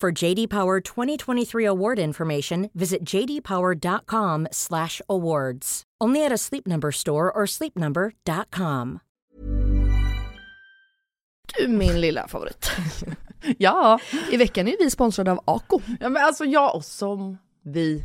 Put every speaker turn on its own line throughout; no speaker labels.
For JD Power 2023 award information, visit jdpower.com/awards. Only at a Sleep Number store or sleepnumber.com.
Du min lilla favorit.
Ja,
I veckan är vi sponsrade av Ako.
ja men alltså jag och som vi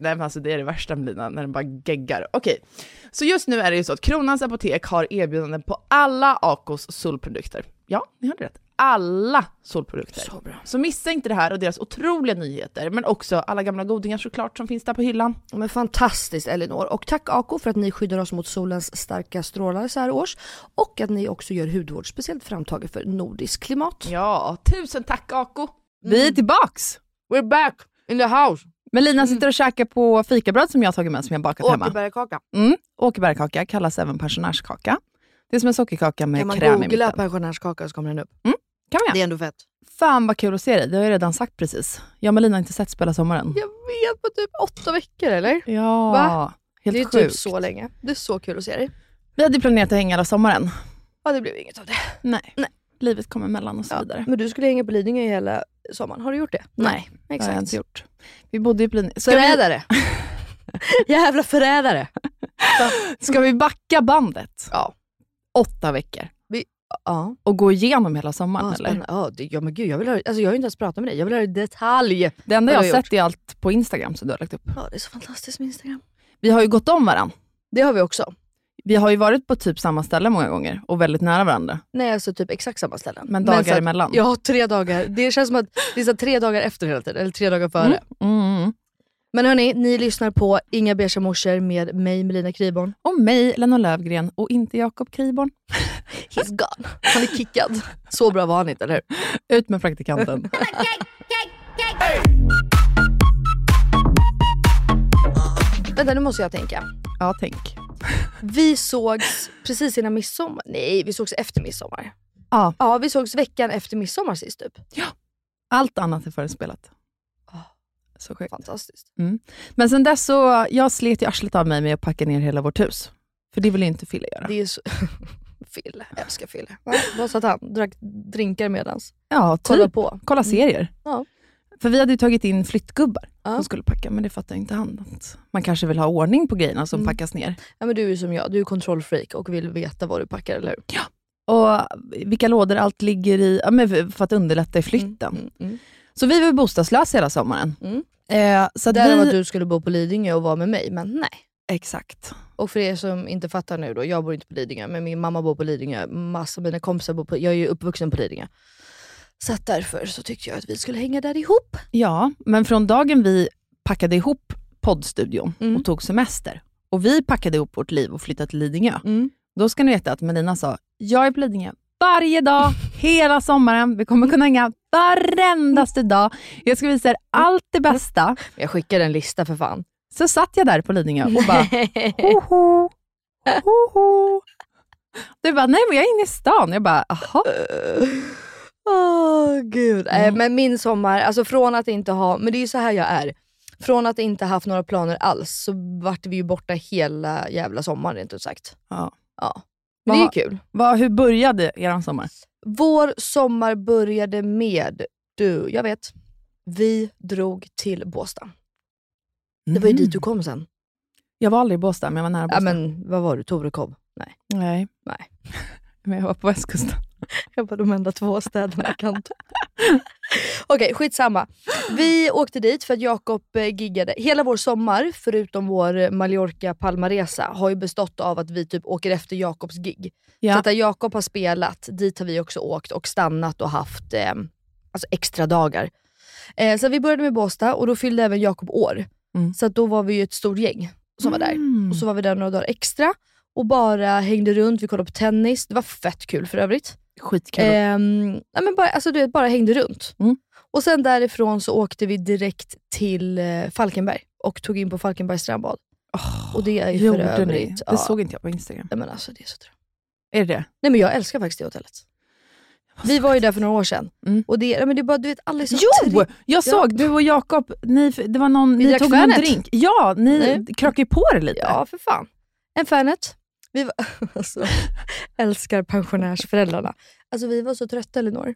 nej men alltså det är det värsta med lina, när den bara geggar. Okej, så just nu är det ju så att Kronans Apotek har erbjudanden på alla Acos solprodukter. Ja, ni hörde rätt. Alla solprodukter. Så bra. Så missa inte det här och deras otroliga nyheter, men också alla gamla godingar såklart som finns där på hyllan.
Men fantastiskt Elinor. Och tack Ako för att ni skyddar oss mot solens starka strålar så här års. Och att ni också gör hudvård speciellt framtagen för nordisk klimat.
Ja, tusen tack Ako! Mm.
Vi är tillbaks!
We're back in the house! Mm.
Men Lina sitter och käkar på fikabröd som jag har tagit med som jag bakat hemma.
Åkerbärgakaka.
Mm. Åkerbärgkaka kallas även pensionärskaka. Det är som en sockerkaka med
Kan man
kräm i
googla
mitten.
pensionärskaka så kommer den upp?
Kan man
Det
göra.
är ändå fett.
Fan vad kul att se dig, det har jag redan sagt precis. Jag och Melina har inte sett spela sommaren.
Jag vet på typ åtta veckor eller?
Ja,
Va?
helt
det är
sjukt.
typ så länge. Det är så kul att se dig.
Vi hade planerat att hänga hela sommaren.
Ja det blev inget av det.
Nej. livet kom emellan och så vidare.
Men du skulle hänga på Lidingö hela sommaren, har du gjort det?
Nej, det har jag inte gjort. Vi bodde ju på Lidingö. Ska, vi-
Förrädare! Jävla förrädare!
ska vi backa bandet?
Ja.
Åtta veckor
Ja,
och gå igenom hela sommaren
ja,
eller?
spännande. ja, det, ja men gud, jag, vill höra, alltså, jag har ju inte ens pratat med dig, jag vill höra i detalj.
Det enda
Vad
jag
har
har
jag
sett är allt på Instagram som du har lagt upp.
Ja, det är så fantastiskt med Instagram.
Vi har ju gått om varandra.
Det har vi också.
Vi har ju varit på typ samma ställe många gånger och väldigt nära varandra.
Nej, alltså typ exakt samma ställen.
Men dagar
så att-
emellan.
Ja, tre dagar. Det känns som att det är så här tre dagar efter hela tiden, eller tre dagar före.
Mm.
Men hörni, ni lyssnar på Inga beiga morsor med mig, Melina Kriborn.
Och mig, Lennon Lövgren och inte Jakob Kriborn.
He's gone. Han är kickad. Så bra var han inte, eller hur?
Ut med praktikanten.
Vänta, nu måste jag tänka.
ja, tänk.
Vi sågs precis innan midsommar. Nej, vi sågs efter midsommar.
Ja, Ja,
Ja, vi sågs veckan efter midsommar sist typ.
allt annat är förinspelat.
Ah.
Så sjukt.
Fantastiskt.
Men sen dess så, jag slet ju arslet av mig med att packa ner hela vårt hus. För det vill ju inte Fille göra.
Det är så... Fille, älskar Fille. Va? Vad satt han? Drack drinkar medans?
Ja, typ.
Kolla
Kolla,
på. Mm.
serier.
Ja.
För vi hade ju tagit in flyttgubbar
Ja.
som skulle packa, men det fattar ju inte han. Att man kanske vill ha ordning på grejerna som
Mm.
packas ner.
Ja, men du är ju som jag, du är kontrollfreak och vill veta vad du packar, eller hur?
Och vilka lådor allt ligger i, ja, men för- för att underlätta i flytten. Så vi var ju bostadslösa hela sommaren.
Mm.
Eh, så att
Därav
vi...
att du skulle bo på Lidingö och vara med mig, men nej.
Exakt.
Och för er som inte fattar nu då, jag bor inte på Lidingö, men min mamma bor på Lidingö, massa av mina kompisar bor på Jag är ju uppvuxen på Lidingö. Så att därför så tyckte jag att vi skulle hänga där ihop.
Ja, men från dagen vi packade ihop poddstudion
Mm.
och tog semester och vi packade ihop vårt liv och flyttade till Lidingö.
Mm.
Då ska ni veta att Melina sa, jag är på Lidingö varje dag, hela sommaren. Vi kommer kunna hänga varendaste dag. Jag ska visa er allt det bästa.
Jag skickade en lista för fan.
Så satt jag där på Lidingö och bara, hoho, hoho. Du bara, nej men jag är inne i stan. Jag bara, jaha.
Åh gud. Eh,
Äh. Mm.
Men min sommar, alltså från att inte ha, men det är ju så här jag är. Från att inte haft några planer alls så vart vi ju borta hela jävla sommaren rent ut sagt.
Ja.
ja. Men det är ju
Vad-
kul.
Vad, hur började er sommar?
Vår sommar började med, du, jag vet, vi drog till Båstad. Det var ju dit du kom sen.
Mm. Jag var aldrig i Båstad, men jag var nära
Ja,
Båstad.
men vad var du? Torekov? Nej.
Nej.
Nej.
Men jag var på västkusten.
Jag var de enda två städerna jag kan ta. Okej, skitsamma. Vi åkte dit för att Jakob eh, giggade. Hela vår sommar, förutom vår Mallorca-Palmaresa, har ju bestått av att vi typ åker efter Jakobs gig.
Ja.
Så att där Jakob har spelat, dit har vi också åkt och stannat och haft eh, alltså extra dagar. Eh, så vi började med Båstad och då fyllde även Jakob år.
Mm.
Så att då var vi ju ett stort gäng som var där.
Mm.
Och så var vi där några dagar extra och bara hängde runt, vi kollade på tennis. Det var fett kul för övrigt.
Skitkul.
Ehm, nej men bara, alltså, du vet, bara hängde runt.
Mm.
Och sen därifrån så åkte vi direkt till eh, Falkenberg och tog in på Falkenbergs strandbad.
Åh,
Och det är ju för
gjorde
övrigt.
ni? Det
ja.
såg inte jag på Instagram.
nej, men alltså, det är så trött.
Är det det?
nej men jag älskar faktiskt det hotellet. Vi var ju där för några år sedan.
Mm.
Och det, nej, men det är bara, du vet, alla är så
Jo!
trevliga.
Jag såg, du och Jakob, ni, det var någon,
Vi
ni
drack
tog en
Fernet.
drink. Ja, ni
Nej.
krökade ju på er lite.
Ja, för fan. En Fanet. Vi var, alltså, älskar pensionärsföräldrarna. Alltså vi var så trötta Elinor.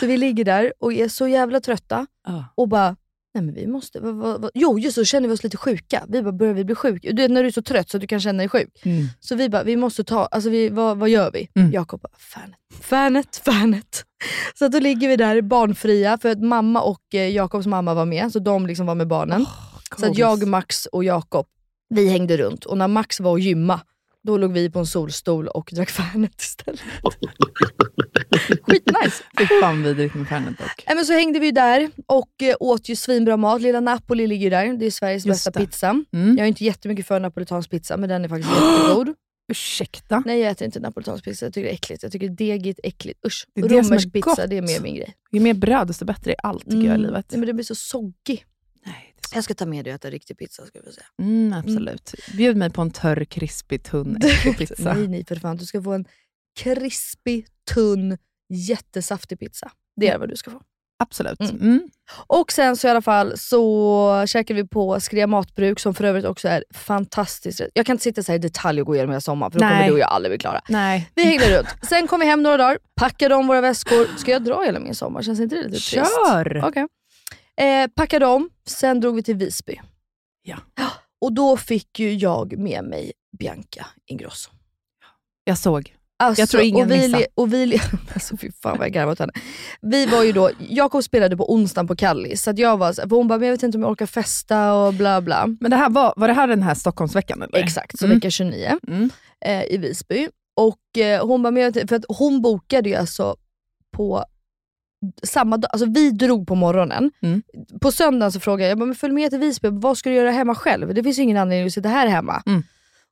Så vi ligger där och är så jävla trötta.
Ja.
och bara, nej men vi måste... Vad, vad, vad. Jo, just så känner vi oss lite sjuka. Vi bara, börjar vi bli sjuka? Du vet när du är så trött så att du kan känna dig sjuk.
Mm.
Så vi bara, vi måste ta, alltså vi, vad, vad gör vi?
Mm.
Jakob bara, fanet, fanet, fanet. Så att då ligger vi där barnfria, för att mamma och eh, Jakobs mamma var med, så de liksom var med barnen. så att jag, Max och Jakob, vi hängde runt. Och när Max var och gymma, då låg vi på en solstol och drack fanet istället. Skitnice!
Fy fan vidrigt med Fernet dock.
Nej, men så hängde vi där och eh, åt ju svinbra mat. Lilla Napoli ligger ju där. Det är Sveriges
Just
bästa
det.
pizza.
Mm.
Jag är inte jättemycket för napolitansk pizza, men den är faktiskt jättegod.
Ursäkta?
Nej, jag äter inte napolitansk pizza. Jag tycker det är äckligt. Jag tycker det är degigt, äckligt. Usch.
Det är det som är
Romersk pizza,
gott.
det är mer min grej.
Ju mer bröd desto bättre i allt tycker jag i
Mm.
livet.
Nej, men det blir så soggig.
Nej, det är så.
Jag ska ta med dig och äta riktig pizza. Ska vi säga.
Mm, absolut. Bjud mig på en törr, krispig, tunn, äcklig pizza.
Nej, nej för fan. Du ska få en krispig, tunn, jättesaftig pizza. Det är vad du ska få.
Absolut.
Mm.
Mm.
Och sen så i alla fall så käkade vi på Skrea matbruk som för övrigt också är fantastiskt. rätt. Jag kan inte sitta så här i detalj och gå igenom hela sommaren för då kommer
Nej.
du och jag aldrig bli klara.
Nej.
Vi hängde runt. Sen kom vi hem några dagar, packade om våra väskor. Ska jag dra hela min sommar? Känns inte det lite trist?
Kör!
Okej. Eh, packade om, sen drog vi till Visby.
Ja.
Och då fick ju jag med mig Bianca Ingrosso.
Jag såg.
Alltså,
Jag tror ingen
och vi,
missar.
le- och vi, le- alltså, fy fan vad jag garvade åt henne. Vi var ju då, Jakob spelade på onsdagen på Kallis, så att jag var så, för hon bara, men jag vet inte om jag orkar festa och bla bla.
Men det här var, var det här den här Stockholmsveckan eller?
Exakt, så
Mm.
vecka 29
Mm.
eh, i Visby. Och eh, hon bara, men jag vet inte, för att hon bokade ju alltså på samma dag, alltså vi drog på morgonen.
Mm.
På söndagen så frågade jag, jag bara, men följ med till Visby, vad ska du göra hemma själv? Det finns ju ingen anledning att sitta här hemma.
Mm.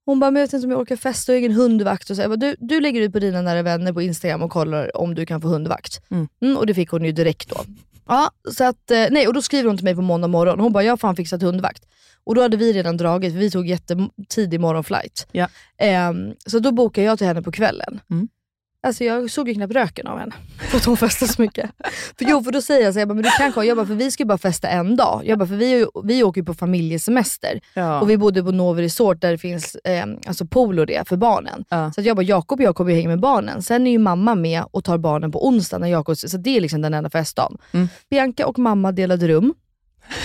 Hon bara, men jag vet inte om jag orkar festa och egen hundvakt. Och så. Jag bara, du, du lägger ut på dina nära vänner på Instagram och kollar om du kan få hundvakt.
Mm.
och det fick hon ju direkt då. Ja, så att, eh, nej, och då skriver hon till mig på måndag morgon, hon bara, jag har fan fixat hundvakt. Och då hade vi redan dragit, för vi tog jättetidig morgonflight.
Ja.
Ehm, så då bokade jag till henne på kvällen.
Mm.
Alltså jag såg ju knappt röken av henne för att hon festade så mycket. För, jo, för då säger jag så här, jag bara, men du kan komma. Jag bara, för vi ska ju bara festa en dag. Jag bara, för vi, är ju- vi åker ju på familjesemester
Ja.
och vi bodde på Novi Resort där det finns eh, alltså pool och det för barnen.
Ja.
Så att jag bara, Jakob och jag kommer ju hänga med barnen. Sen är ju mamma med och tar barnen på onsdag när Jakob, så det är liksom den enda festdagen.
Mm.
Bianca och mamma delade rum.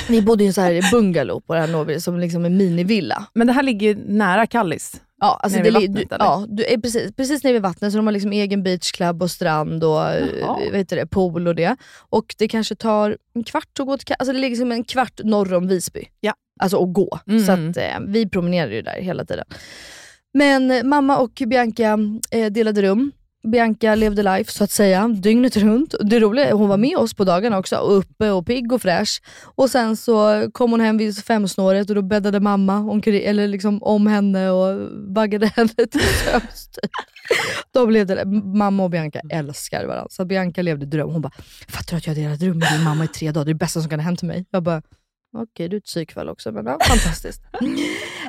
Vi bodde i en så här bungalow på det här Novi, som liksom en minivilla.
Men det här ligger ju nära Kallis.
Ja, alltså
Nere vid
det, li-
vattnet,
du,
eller?
ja du, är precis, precis nere vid vattnet, så de har liksom egen beachclub och strand och
Jaha.
eh, vad heter det, pool och det. Och det kanske tar en kvart att gå till Ka- alltså det ligger som en kvart norr om Visby.
Ja.
Alltså att gå.
Mm.
Så att, eh, vi promenerade ju där hela tiden. Men eh, mamma och Bianca eh, delade rum. Bianca levde life så att säga, dygnet runt. Det roliga är att hon var med oss på dagarna också, och uppe och pigg och fräsch. Och sen så kom hon hem vid femsnåret och då bäddade mamma omkring, eller liksom om henne och baggade henne till sömns. typ. De levde det. Mamma och Bianca älskar varandra. Så Bianca levde dröm. Hon bara, fattar du att jag har delat rum med din mamma i tre dagar? Det är det bästa som kan ha hänt mig. Jag bara, okej du är ett psykfall också, men ja, fantastiskt. Nej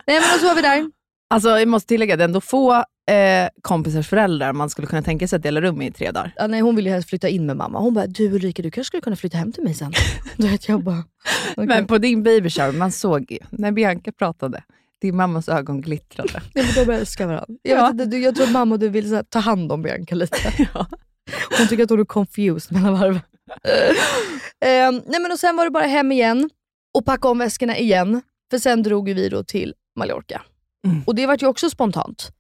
men och så var vi där.
Alltså jag måste tillägga, det är ändå få eh, kompisars föräldrar man skulle kunna tänka sig att dela rum i i tre dagar.
Ja, nej, hon ville ju helst flytta in med mamma. Hon bara, du Ulrika du kanske skulle kunna flytta hem till mig sen. Då vet jag bara, okej.
Men på din baby shower, man såg ju, när Bianca pratade, din mammas ögon glittrade.
Nej, men de älskar varandra. Jag,
Ja.
vet inte, du, jag tror att mamma och du vill så här, ta hand om Bianca lite.
Ja.
Hon tycker att hon är confused mellan varven. Ehm, nej, men och sen var det bara hem igen och packa om väskorna igen. För sen drog ju vi då till Mallorca.
Mm.
Och det vart ju också spontant.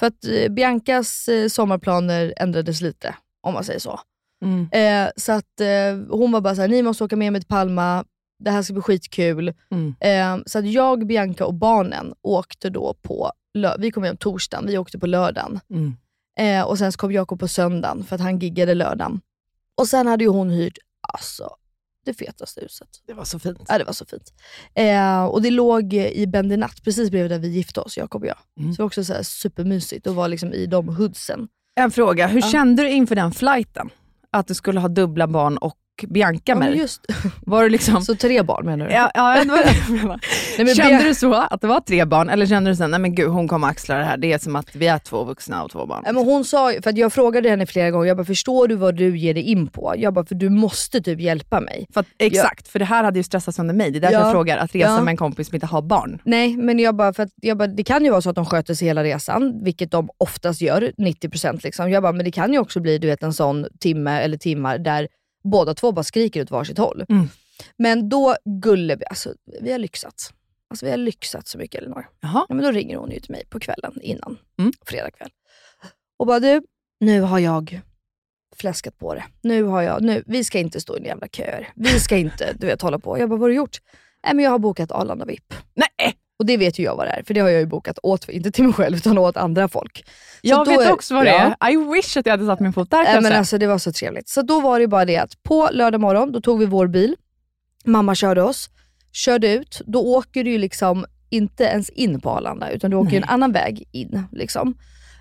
För att eh, Biancas eh, sommarplaner ändrades lite, om man säger så.
Mm.
Eh, så att eh, hon var bara såhär, ni måste åka med mig till Palma, det här ska bli skitkul.
Mm.
Eh, så att jag, Bianca och barnen åkte då på, lö- vi kom hem torsdagen, vi åkte på lördagen.
Mm.
Eh, och sen så kom Jakob på söndagen för att han giggade lördagen. Och sen hade ju hon hyrt, alltså det fetaste huset.
Det var så fint.
Ja, det var så fint. Eh, och det låg i Bendinat, precis bredvid där vi gifte oss, Jakob och jag.
Mm.
Så det var också så här supermysigt att vara liksom i de hoodsen.
En fråga, hur
Ja.
kände du inför den flighten? Att du skulle ha dubbla barn och Bianca
Ja,
med
men
dig?
just,
Var du liksom...
så tre barn menar du?
Ja, ja, det var det.
Nej, men
kände
Bian-
du så, att det var tre barn, eller kände du sen, nej men gud hon kommer axla det här, det är som att vi är två vuxna och två barn.
Ja, Men hon sa, ju- för att jag frågade henne flera gånger, jag bara förstår du vad du ger dig in på? Jag bara, för du måste typ hjälpa mig.
för att, exakt, för det här hade ju stressat sönder mig, det är därför
Ja.
jag frågar, att resa
Ja.
med en kompis som inte har barn.
Nej, men jag bara, för att, jag bara, det kan ju vara så att de sköter sig hela resan, vilket de oftast gör, 90% liksom. Jag bara, men det kan ju också bli du vet, en sån timme eller timmar där båda två bara skriker åt varsitt håll.
Mm.
Men då, gulle, alltså vi har lyxat. Alltså vi har lyxat så mycket Elinor.
Jaha.
Ja, men då ringer hon ju till mig på kvällen innan,
Mm.
fredag kväll. Och bara du, nu har jag fläskat på det. Nu har jag, nu, vi ska inte stå i några jävla köer. Vi ska inte, du vet, hålla på. Jag bara, vad har du gjort? Nej men jag har bokat Arlanda VIP.
Nej!
Och det vet ju jag vad det är, för det har jag ju bokat åt, inte till mig själv, utan åt andra folk. Så
Jag
då
vet
är-
också vad det
Ja.
är. I wish att jag hade satt min fot där
Nej, men
kanske.
alltså, det var så trevligt. Så då var det bara det att på lördag morgon, då tog vi vår bil. Mamma körde oss, körde ut. Då åker du ju liksom inte ens in på Arlanda, utan du åker ju en annan väg in. Liksom.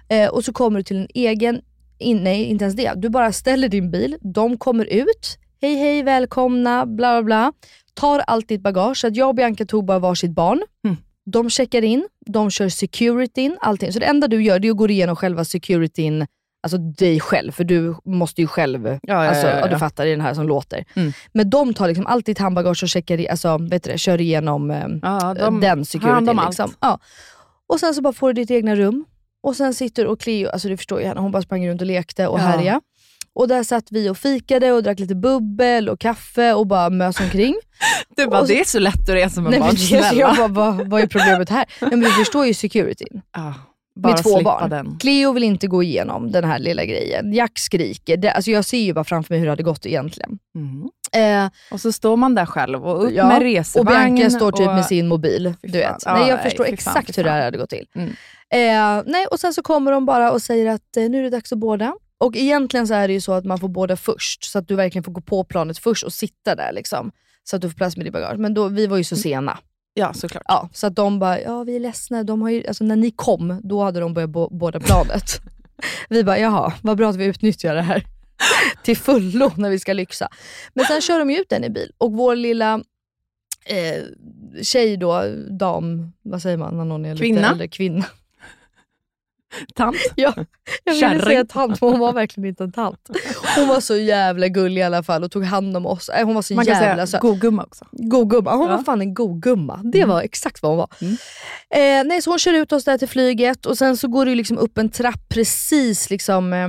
Eh, och så kommer du till en egen, in, nej inte ens det. Du bara ställer din bil, de kommer ut. Hej hej, välkomna, bla bla bla. Tar allt ditt bagage. Så att jag och Bianca tog bara varsitt barn.
Mm.
De checkar in, de kör securityn, allting. Så det enda du gör det är att gå igenom själva securityn alltså dig själv, för du måste ju själv,
ja,
alltså,
ja, ja,
du
ja.
fattar i den här som låter.
Mm.
Men de tar liksom allt ditt handbagage och checkar, i- alltså, vet du det, kör igenom eh,
ja, de,
den
hand om
securityn.
allt.
Liksom. Ja. Och sen så bara får du ditt egna rum och sen sitter och Cleo, alltså du förstår ju henne, hon bara sprang runt och lekte och
Ja.
härjade. Och där satt vi och fikade och drack lite bubbel och kaffe och bara mös omkring.
du bara,
och så-
det är så lätt att resa med
Nej, men
barn,
det-
snälla.
jag bara, vad, vad är problemet här? Nej, men du förstår ju securityn.
Ja, bara
med två
slippa
barn.
Den.
Cleo vill inte gå igenom den här lilla grejen. Jack skriker. Det, alltså jag ser ju bara framför mig hur det hade gått egentligen.
Mm.
Eh,
Och så står man där själv och upp
Ja,
med
och
resevagn.
Bianca står typ
och-
med sin mobil.
Fy
Du
fan.
vet.
Ja,
nej, jag
nej,
förstår
fy fan,
exakt
fy
hur det
fan.
här hade gått till.
Mm.
Eh, nej, och Sen så kommer de bara och säger att eh, nu är det dags att båda. Och egentligen så är det ju så att man får båda först, så att du verkligen får gå på planet först och sitta där. liksom Så att du får plats med ditt bagage. Men då, vi var ju
Mm.
så sena.
Ja, såklart.
Ja, så att de bara, ja vi är ledsna. De har ju, alltså, när ni kom, då hade de börjat bo- båda planet. vi bara, jaha, vad bra att vi utnyttjar det här till fullo när vi ska lyxa. Men sen kör de ju ut den i bil och vår lilla eh, tjej då, dam, vad säger man när någon är lite
Kvinna.
äldre? Kvinna.
Tant.
Jag ville
Kärring.
säga tant, men hon var verkligen inte en tant. Hon var så jävla gullig i alla fall och tog hand om oss. Eh, Hon var så
Man kan
jävla
säga
söt.
god gumma också.
God gumma. Hon
Ja. Mm.
var fan en god gumma. Det var exakt vad hon var. Eh, nej, så hon kör ut oss där till flyget och sen så går det ju liksom upp en trapp precis liksom... Eh,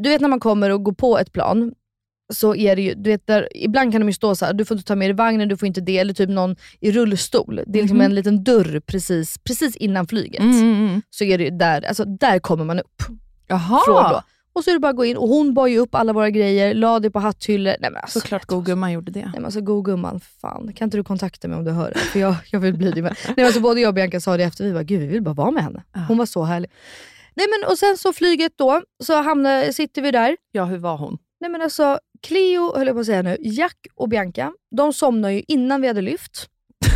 du vet när man kommer och går på ett plan, så är det ju, du vet där, ibland kan de ju stå så här, du får inte ta med dig vagnen, du får inte det, eller typ någon i rullstol. Det är liksom
Mhm.
en liten dörr precis, precis innan flyget.
Mm,
Så är det ju där, alltså där kommer man upp
Jaha!
från då. Och så är det bara att gå in och hon bar ju upp alla våra grejer, la det på hatthyllor. Nej men alltså,
Såklart god gumma gjorde det.
Nej men alltså god gumman, fan. Kan inte du kontakta mig om du hör det? För jag, jag vill bli din vän. Nej, men alltså, både jag och Bianca sa det efter, vi bara, gud vi vill bara vara med henne. Hon var så härlig. Nej men och sen så flyget då, så hamnar, sitter vi där.
Ja, hur var hon?
Nej men alltså Cleo, höll jag på att säga nu, Jack och Bianca, de somnade ju innan vi hade lyft.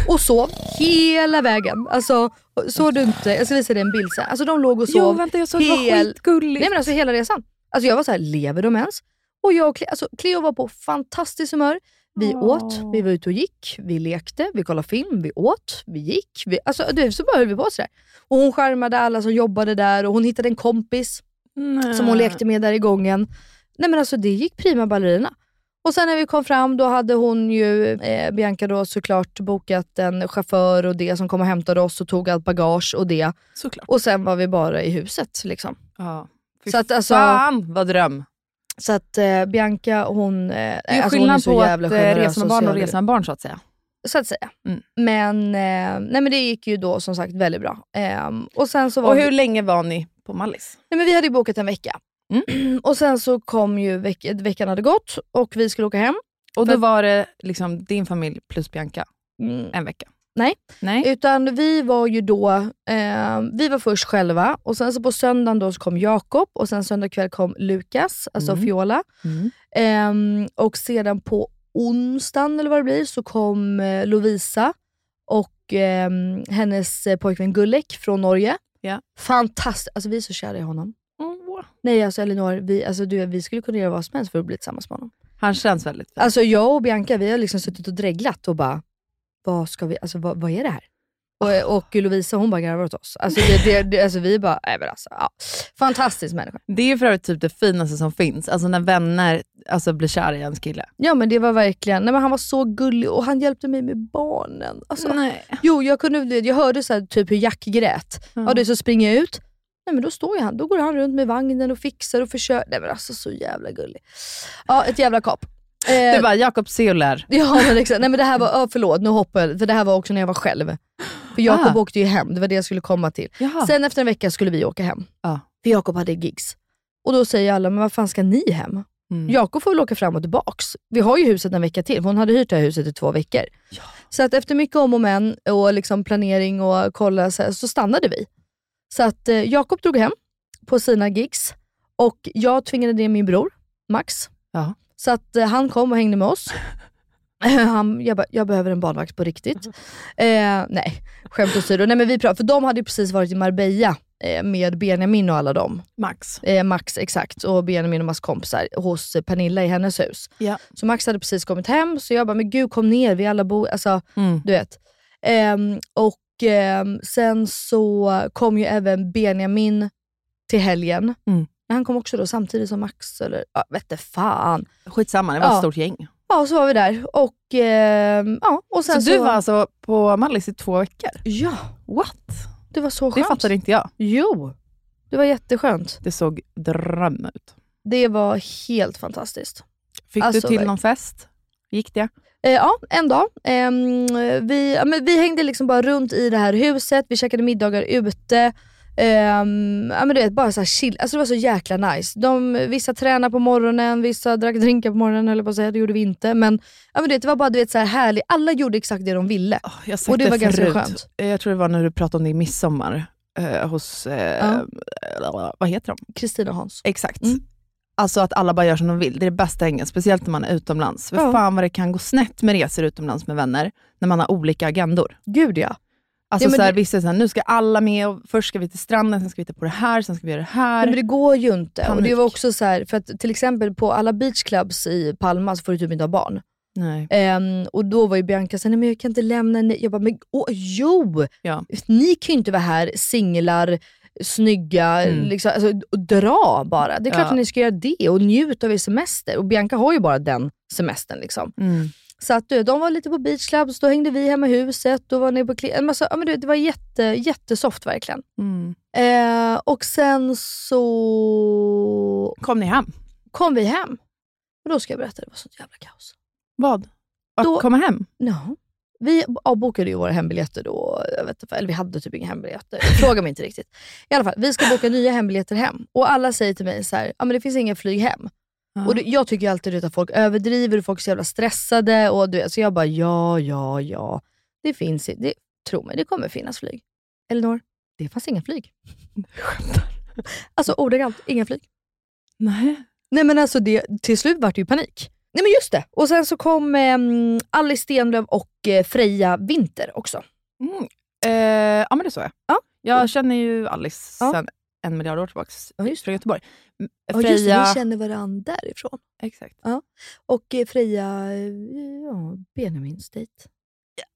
Och sov hela vägen. Alltså, såg du inte? Jag ska visa dig en bild sen. Alltså de låg och sov.
Jo, vänta jag såg att det var
Hel-
skitgulligt.
Nej men alltså hela resan. Alltså jag var så här, lever de ens? Och jag och Cleo, alltså Cleo var på fantastiskt humör. Vi
Åh.
åt, vi var ute och gick, vi lekte, vi kollade film, vi åt, vi gick. Vi, alltså du, så bara höll vi på sådär. Och hon skärmade alla som jobbade där och hon hittade en kompis
Nej.
som hon lekte med där i gången. Nej men alltså det gick prima ballerina. Och sen när vi kom fram då hade hon ju, eh, Bianca då såklart bokat en chaufför och det som kom och hämtade oss och tog allt bagage och det.
Såklart.
Och sen var vi bara i huset liksom.
Ja. Fy
Så att, alltså-
fan vad dröm.
Så att eh, Bianca hon, eh,
Det är
alltså,
ju
hon är
skillnad
så
på
jävla
att eh,
generös
resa med barn och
social.
resa med barn så att säga.
Så att säga.
Mm.
Men, eh, nej, men det gick ju då som sagt väldigt bra. Ehm, och sen så var
Och
vi-
hur länge var ni på Mallis?
Nej, men vi hade ju bokat en vecka.
Mm.
Och sen så kom ju veck veckan hade gått och vi skulle åka hem.
Och då
Men-
var det liksom din familj plus Bianca
Mm.
en vecka?
Nej.
Nej. Eh,
Utan vi var ju då, eh, vi var först själva och sen så på söndagen då så kom Jakob och sen söndag kväll kom Lukas, alltså
Mm.
Fiola.
Mm.
Ehm, och sedan på onsdagen eller vad det blir så kom eh, Lovisa och ehm, hennes eh, pojkvän Gullek från Norge.
Ja.
Fantastiskt, alltså vi är så kära i honom.
Åh.
Nej alltså Elinor, vi, alltså, du, vi skulle kunna göra vad som helst för att bli tillsammans med honom.
Han känns väldigt fin.
Alltså jag och Bianca vi har liksom suttit och dreglat och bara, vad ska vi, alltså vad, vad är det här? Och, och Lovisa hon bara garvar åt oss. Alltså, det, det, det, alltså vi bara, nej men alltså, ja. fantastisk människa.
Det är ju för övrigt typ det finaste som finns, alltså när vänner alltså, blir kära i ens kille.
Ja men det var verkligen, nej, men han var så gullig och han hjälpte mig med barnen. Alltså,
Nej.
Jo, jag, kunde, jag hörde så här, typ hur Jack grät.
Ja.
Ja. du, så springer jag ut. Nej, men då står ju han. Då går han runt med vagnen och fixar och försöker. Nej men alltså så jävla gullig. Ja, ett jävla kap. Eh,
Du bara, Jakob se och lär.
ja, men exakt. Nej men det här var, ja, förlåt nu hoppar jag, för det här var också när jag var själv. För Jakob
Ah.
åkte ju hem, det var det jag skulle komma till.
Jaha.
Sen efter en vecka skulle vi åka hem.
Ja.
För Jakob hade gigs. Och då säger alla, men vad fan ska ni hem?
Mm.
Jakob får väl åka fram och tillbaks. Vi har ju huset en vecka till, för hon hade hyrt det här huset i två veckor. Så att efter mycket om och men och liksom planering och kolla så, här, så stannade vi. Så att eh, Jakob drog hem på sina gigs och jag tvingade ner min bror, Max.
Ja.
Så att eh, han kom och hängde med oss. Han, jag, bara, jag behöver en barnvakt på riktigt. Eh, nej, skämt åsido. Nej, men vi pra- för de hade ju precis varit i Marbella eh, med Benjamin och alla dem.
Max.
Eh, Max exakt och Benjamin och Max kompisar hos eh, Pernilla i hennes hus.
Ja.
Så Max hade precis kommit hem, så jag bara, men gud kom ner, vi alla bor... Alltså,
Mm.
du vet. Ehm, och ehm, sen så kom ju även Benjamin till helgen.
Mm.
Men Han kom också då samtidigt som Max, eller ja, vette fan.
Skitsamma, det var
Ja.
ett stort gäng.
Ja, och så var vi där. Och, ehm, ja, och
Så,
sen så,
du var alltså på Mallis i två veckor?
Ja,
What?
det var så
Det
skönt.
fattade inte jag.
Jo, det var jätteskönt.
Det såg dröm ut.
Det var helt fantastiskt.
Fick
Alltså,
du till
verkligen.
någon fest? Gick det?
Eh, ja, en dag. Ehm, vi, ja, men vi hängde liksom bara runt i det här huset, vi käkade middagar ute. Ehm, ja, men du vet, bara så här chill. Alltså, det var så jäkla nice. De, vissa tränade på morgonen, vissa drack drinkar på morgonen, eller på att säga, det gjorde vi inte. Men, ja, men du vet, det var bara du vet, så här härligt, alla gjorde exakt det de ville.
Oh, jag har sagt
Och det var ganska
förut.
skönt.
Eh, Jag tror det var när du pratade om det i midsommar. eh, hos, eh,
Ehm.
vad heter de?
Kristina och Hans.
Exakt.
Mm.
Alltså att alla bara gör som de vill. Det är det bästa hängen, speciellt när man är utomlands. För
Ja.
fan vad det kan gå snett med resor utomlands med vänner, när man har olika agendor.
Gud ja.
Alltså
Ja, men
så här,
det-
vissa är så här, nu ska alla med, och först ska vi till stranden, sen ska vi hitta på det här, sen ska vi göra det här.
Nej, men det går ju inte. Och det
Panik.
var också så här, för att till exempel på alla beachclubs i Palma så får du typ inte ha barn.
Nej.
Ehm, och då var ju Bianca såhär, nej men jag kan inte lämna ni. Jag bara, men åh, jo!
Ja.
Ni kan ju inte vara här singlar snygga,
Mm.
liksom, alltså, och dra bara. Det är klart
Ja.
att ni ska göra det och njut av er semester. Och Bianca har ju bara den semestern. Liksom.
Mm.
Så att, du, de var lite på beach clubs, då hängde vi hemma i huset, då var ni på kli- en massa, ja, men du, vet, Det var jätte, jättesoft verkligen.
Mm.
Eh, och sen så
Kom ni hem?
kom vi hem. Och då ska jag berätta, det var sånt jävla kaos.
Vad? Att
Då-
komma hem?
Ja. Vi avbokade ju våra hembiljetter då, jag vet inte, eller vi hade typ inga hembiljetter. Fråga mig inte riktigt. I alla fall, vi ska boka nya hembiljetter hem och alla säger till mig så här, ah, men det finns inga flyg hem. Och det, jag tycker ju alltid du vet, att folk överdriver, folk är så jävla stressade. Och du, vet, så jag bara, ja, ja, ja. Det finns, i- det, tro mig, det kommer finnas flyg. Elinor, det fanns inga flyg. Alltså ordagrant, inga flyg.
Nej.
Nej men alltså det, till slut vart det ju panik. Nej men just det! Och sen så kom eh, Alice Stenlöf och eh, Freja Winter också.
Mm. Eh, ja, men det såg jag.
Ja.
Jag känner ju Alice
Ja.
sedan en miljard år tillbaka
Ja, just
från Göteborg. M-
Ja
Freja...
just det, vi känner varandra därifrån.
Exakt.
Och eh, Freja, eh, ja, Benjamins dejt.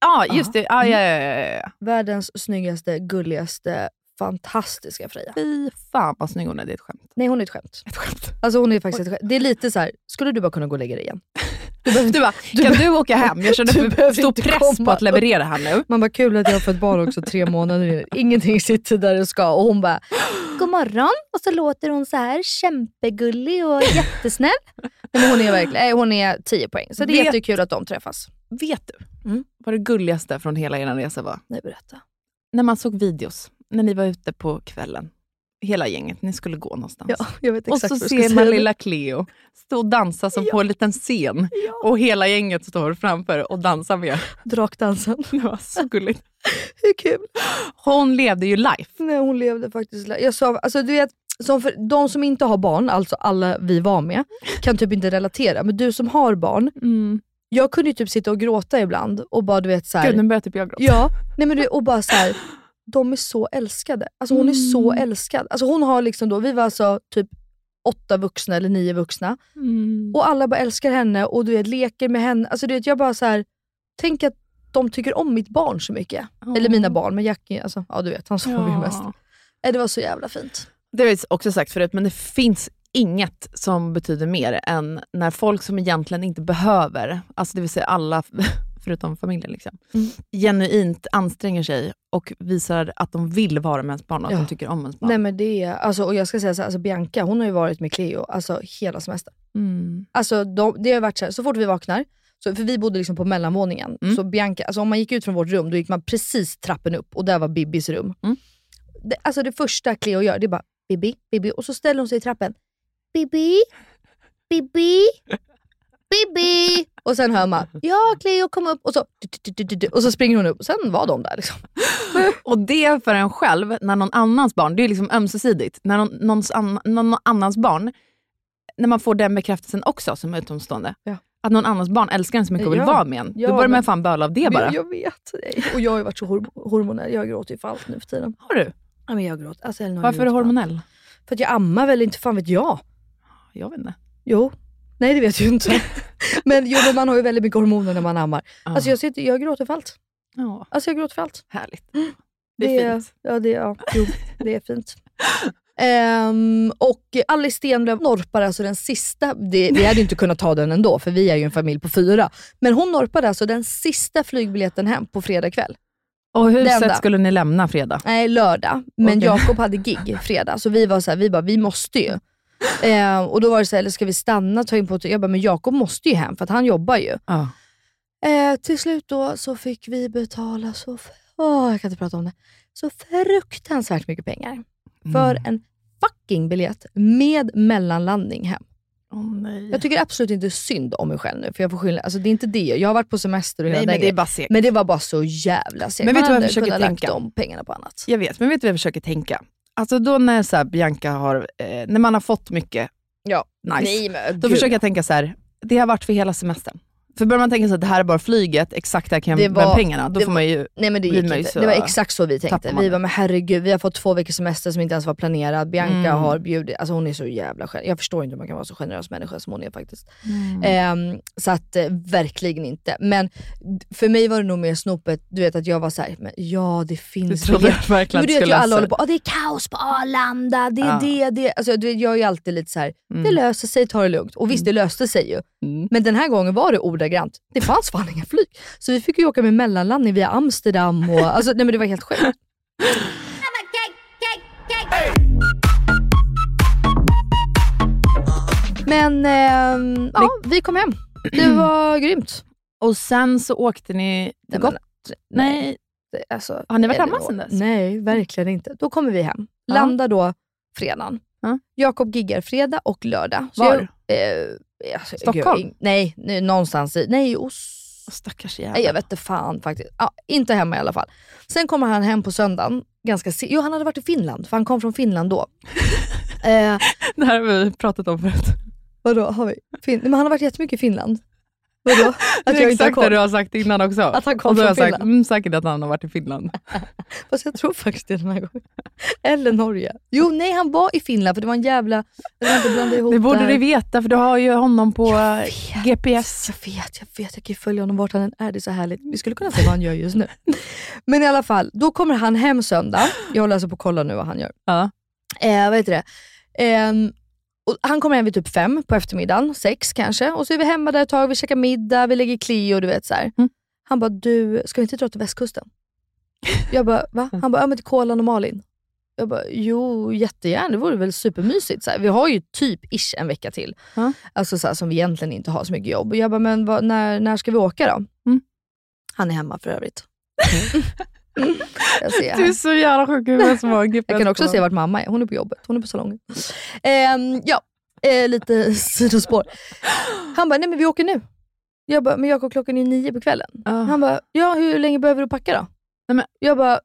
Ja, just det. Ja, ja, ja, ja, ja.
Världens snyggaste, gulligaste, fantastiska Freja.
Fy fan vad snygg hon är. Det är ett skämt.
Nej hon är ett skämt.
Ett skämt.
Alltså hon är faktiskt ett skämt. Det är lite så här, skulle du bara kunna gå och lägga dig igen? Du behöver inte-
Du bara, kan du åka hem? Jag känner
Du
för
behöver
stor
inte
press på
komma.
att leverera här nu.
Man bara, kul att jag har fått barn också tre månader in. Ingenting sitter där det ska. Och hon bara, god morgon. Och så låter hon så här kämpegullig och jättesnäll. Nej, men hon är verkligen, nej, hon är 10 poäng. Så det är
Vet-
jättekul att de träffas.
Vet du
Mm.
vad det gulligaste från hela er resa var?
Nej, berätta.
När man såg videos, när ni var ute på kvällen. Hela gänget, ni skulle gå någonstans.
Ja, jag vet
Och
exakt
så
vad du ska
ser
säga.
man lilla Cleo stå och dansa som på en liten scen. Och hela gänget står framför och dansar med.
Drakdansen.
Det var så gulligt.
Hur kul?
Hon levde ju life.
Nej, hon levde faktiskt... lä- Jag sa, alltså, du vet, som för, de som inte har barn, alltså alla vi var med, kan typ inte relatera. Men du som har barn, jag kunde ju typ sitta och gråta ibland och bara du vet så här,
Mm. Gud, nu börjar typ jag gråta.
Ja, nej men du, och bara så här, de är så älskade. Alltså hon är så älskad. Alltså hon har liksom då, vi var alltså typ åtta vuxna eller nio vuxna och alla bara älskar henne och du vet, leker med henne. Alltså du vet, jag bara så här, tänk att de tycker om mitt barn så mycket. Eller mina barn, men Jack, är- alltså, ja du vet, han sover ju mest. Nej, Det var så jävla fint.
Det har vi också sagt förut, men det finns inget som betyder mer än när folk som egentligen inte behöver, alltså det vill säga alla förutom familjen, liksom, genuint anstränger sig och visar att de vill vara med ens barn och att
Ja.
de tycker om ens barn.
Nej men det är, alltså, och jag ska säga så här, alltså Bianca hon har ju varit med Cleo alltså, hela semestern.
Mm.
Alltså de, det har varit så här, så fort vi vaknar, så, för vi bodde liksom på mellanvåningen,
Mm.
så Bianca, alltså om man gick ut från vårt rum, då gick man precis trappen upp och där var Bibbis rum.
Mm.
Det, alltså det första Cleo gör, det är bara Bibi, Bibi, och så ställer hon sig i trappen. Bibi, Bibi, Bibi. Och sen hör man, ja Cleo kom upp, och så, du, du, du, du, du, och så springer hon upp, och sen var de där. Liksom.
Och det för en själv, när någon annans barn, det är liksom ömsesidigt, när någon, någons ann, någon annans barn, när man får den bekräftelsen också som utomstående,
Ja.
att någon annans barn älskar en så mycket och vill
Ja.
vara med en,
Ja,
då börjar man
men-
fan böla av det bara.
Jag, jag vet. Och jag har ju varit så hor- hormonell, jag gråter ju för allt nu för tiden.
Har du?
Ja, men jag gråter. Alltså, Elinor, jag
Varför är du
gråter för allt.
hormonell?
För att jag ammar väl, inte fan vet jag.
Jag vet inte.
Jo. Nej det vet jag ju inte. men, jo, men man har ju väldigt mycket hormoner när man ammar. Alltså jag, sitter, jag gråter för allt.
Ja,
Alltså jag gråter för allt.
härligt. Det är fint.
Ja, det, ja. Jo, det är fint. Ehm, och Alice Stenlöf norpar alltså den sista, det, vi hade ju inte kunnat ta den ändå för vi är ju en familj på fyra. Men hon norpade alltså den sista flygbiljetten hem på fredag kväll.
Och huset
enda.
skulle ni lämna fredag?
Nej, lördag. Men
Okej.
Jakob hade gig fredag, så vi var så här, vi bara, vi måste ju. Ehm, och då var det så här, eller ska vi stanna, ta in på hotell? Jag bara, men Jakob måste ju hem för att han jobbar ju.
Ja.
Eh, till slut då så fick vi betala så, f- åh, jag kan inte prata om det, så fruktansvärt mycket pengar för
Mm.
en fucking biljett med mellanlandning hem.
Åh nej.
Jag tycker absolut inte synd om mig själv nu, för jag får skylla, alltså det är inte det. Jag har varit på semester och hela
nej,
den
men det är
grejen.
bara segt.
men det var bara så jävla segt. Man
Men vet du vad jag
hade
försöker
kunnat
tänka?
lagt de pengarna på annat.
Jag vet, men vet du vad jag försöker tänka? Alltså då när så här Bianca har, eh, när man har fått mycket
Ja.
nice,
Nej, men,
då
gud.
försöker jag tänka så här, det har varit för hela semestern. För börjar man tänka så att det här är bara flyget, exakt där kan
Det
jag
var-
men pengarna, då
det
får man ju...
Nej men det
Blir
gick
man ju
inte.
så-
det var exakt så vi
tappar
tänkte.
man
Vi
det.
var men herregud, vi har fått två veckors semester som inte ens var planerad. Bianca
Mm.
har bjudit, alltså hon är så jävla generös. Jag förstår inte hur man kan vara så generös människa som hon är faktiskt.
Mm.
Ehm, så att eh, verkligen inte. Men för mig var det nog mer snopet, du vet att jag var såhär, men ja det
Du
finns
trodde
biljetter.
verkligen
Men
att
du
det
vet ju
skulle
alla
lösa
håller
sig.
på, ah, det är kaos på Arlanda, det är
Ja.
det, det. Alltså, du vet, jag är ju alltid lite så här. det löser sig, ta det lugnt. Och visst det löste sig ju.
Mm.
Men den här gången var det ordagrant. Det fanns fan inga flyg. Så vi fick ju åka med mellanlandning via Amsterdam och alltså, nej men det var helt sjukt. Men ehm, ja, vi kom hem. Det var grymt.
Och sen så åkte ni
Nej,
till
men-
Gotland? Nej,
Det- Alltså,
har ni varit
eller
hemma
då-
sen dess?
Nej, verkligen inte. Då kommer vi hem.
Ja.
Landar då fredagen.
Ja.
Jakob giggar fredag och lördag. Så
Var?
Jag, eh, alltså,
Stockholm?
Gud, in- nej, nu- någonstans i... Nej, i Os...
Stackars
Nej,
jävel.
jag vet inte fan faktiskt. Ja, inte hemma i alla fall. Sen kommer han hem på söndagen. Ganska se- jo, han hade varit i Finland, för han kom från Finland då. eh,
Det här har vi pratat om förut.
vadå, har vi? Fin- men han har varit jättemycket i Finland. Vadå?
Det
Att
är
jag inte har
exakt det
koll.
du har sagt innan också.
Att han kom
och då
från
har jag sagt,
Finland.
mm, säkert att han har varit i Finland.
Fast jag tror faktiskt det den här gången. Eller Norge. Jo, nej han var i Finland för det var en jävla... Jag vill inte blanda ihop
Det borde
här.
du veta för du har ju honom på GPS.
Jag vet, jag vet. Jag kan ju följa honom vart han än är. Det är så härligt. Vi skulle kunna se vad han gör just nu. Men i alla fall, då kommer han hem söndag. Jag håller alltså på att kolla nu vad han gör.
Ja.
Eh, vad heter det? Ehm, och han kommer hem vid typ fem på eftermiddagen, sex kanske. Och så är vi hemma där ett tag, vi käkar middag, vi lägger Clio, du vet så här.
Mm.
Han bara, du, ska vi inte dra till västkusten? Jag bara, va? Han bara, ja men till Kolan och Malin. Jag bara, jo jättegärna, det vore väl supermysigt. Så här. Vi har ju typ ish en vecka till.
Ja.
Alltså så här, som vi egentligen inte har så mycket jobb. Och jag bara, men vad, när, när ska vi åka då?
Mm.
Han är hemma för övrigt. jag ser.
Mm. Du är så jävla sjuk i huvudet som har GPS
Jag kan också
på.
se vart mamma är. Hon är på jobbet. Hon är på salongen. Ehm, ja, eh, lite sidospår. Han bara, nej men vi åker nu. Jag bara, men Jakob klockan är nio på kvällen.
Ja.
Han bara, ja hur länge behöver du packa då?
Ah. Nej, men-
Jag bara,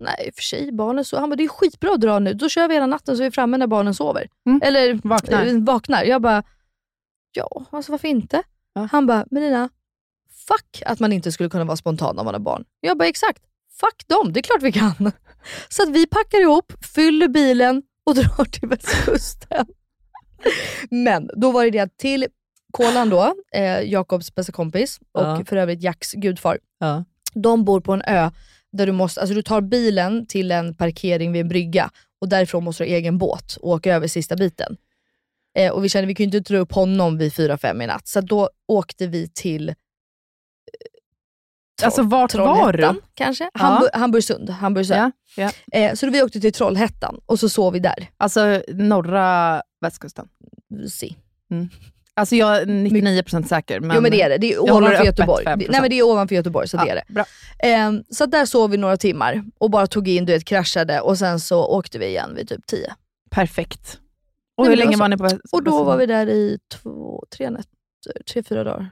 nej i och för sig barnen så. Han bara, det är skitbra att dra nu. Då kör vi hela natten så är vi framme när barnen sover.
Mm.
Eller
Vaknar.
eh, vaknar. Jag bara, ja alltså varför inte?
Ja.
Han bara, Melina, fuck att man inte skulle kunna vara spontan om man har barn. Jag bara, exakt. Fuck dem, det är klart vi kan. Så att vi packar ihop, fyller bilen och drar till västkusten. Men då var det det att till Kolan då, eh, Jakobs bästa kompis och
Ja.
för övrigt Jacks gudfar.
Ja.
De bor på en ö där du måste, alltså du tar bilen till en parkering vid en brygga och därifrån måste du ha egen båt och åka över sista biten. Eh, och vi kände vi kunde inte dra upp honom vid 4-5 i natt, så då åkte vi till eh, Troll-
Alltså vart var
Trollhättan
du?
kanske?
Ja.
Hamburg, Hamburgsund. Hamburgsö.
Ja, ja.
Eh, så då vi åkte till Trollhättan och så sov vi där.
Alltså norra västkusten.
Si.
Alltså jag är 99% säker. Men...
jo men det är det, det är
håller det
ovanför
öppet
Göteborg.
5%.
Nej men det är ovanför Göteborg, så det är det.
Bra.
Ehm, så att där sov vi några timmar och bara tog in, du vet kraschade och sen så åkte vi igen vid typ 10.
Perfekt.
men
Och hur
det var
länge
så.
var ni på
Och då var vi där i två, tre nätter, tre, fyra dagar.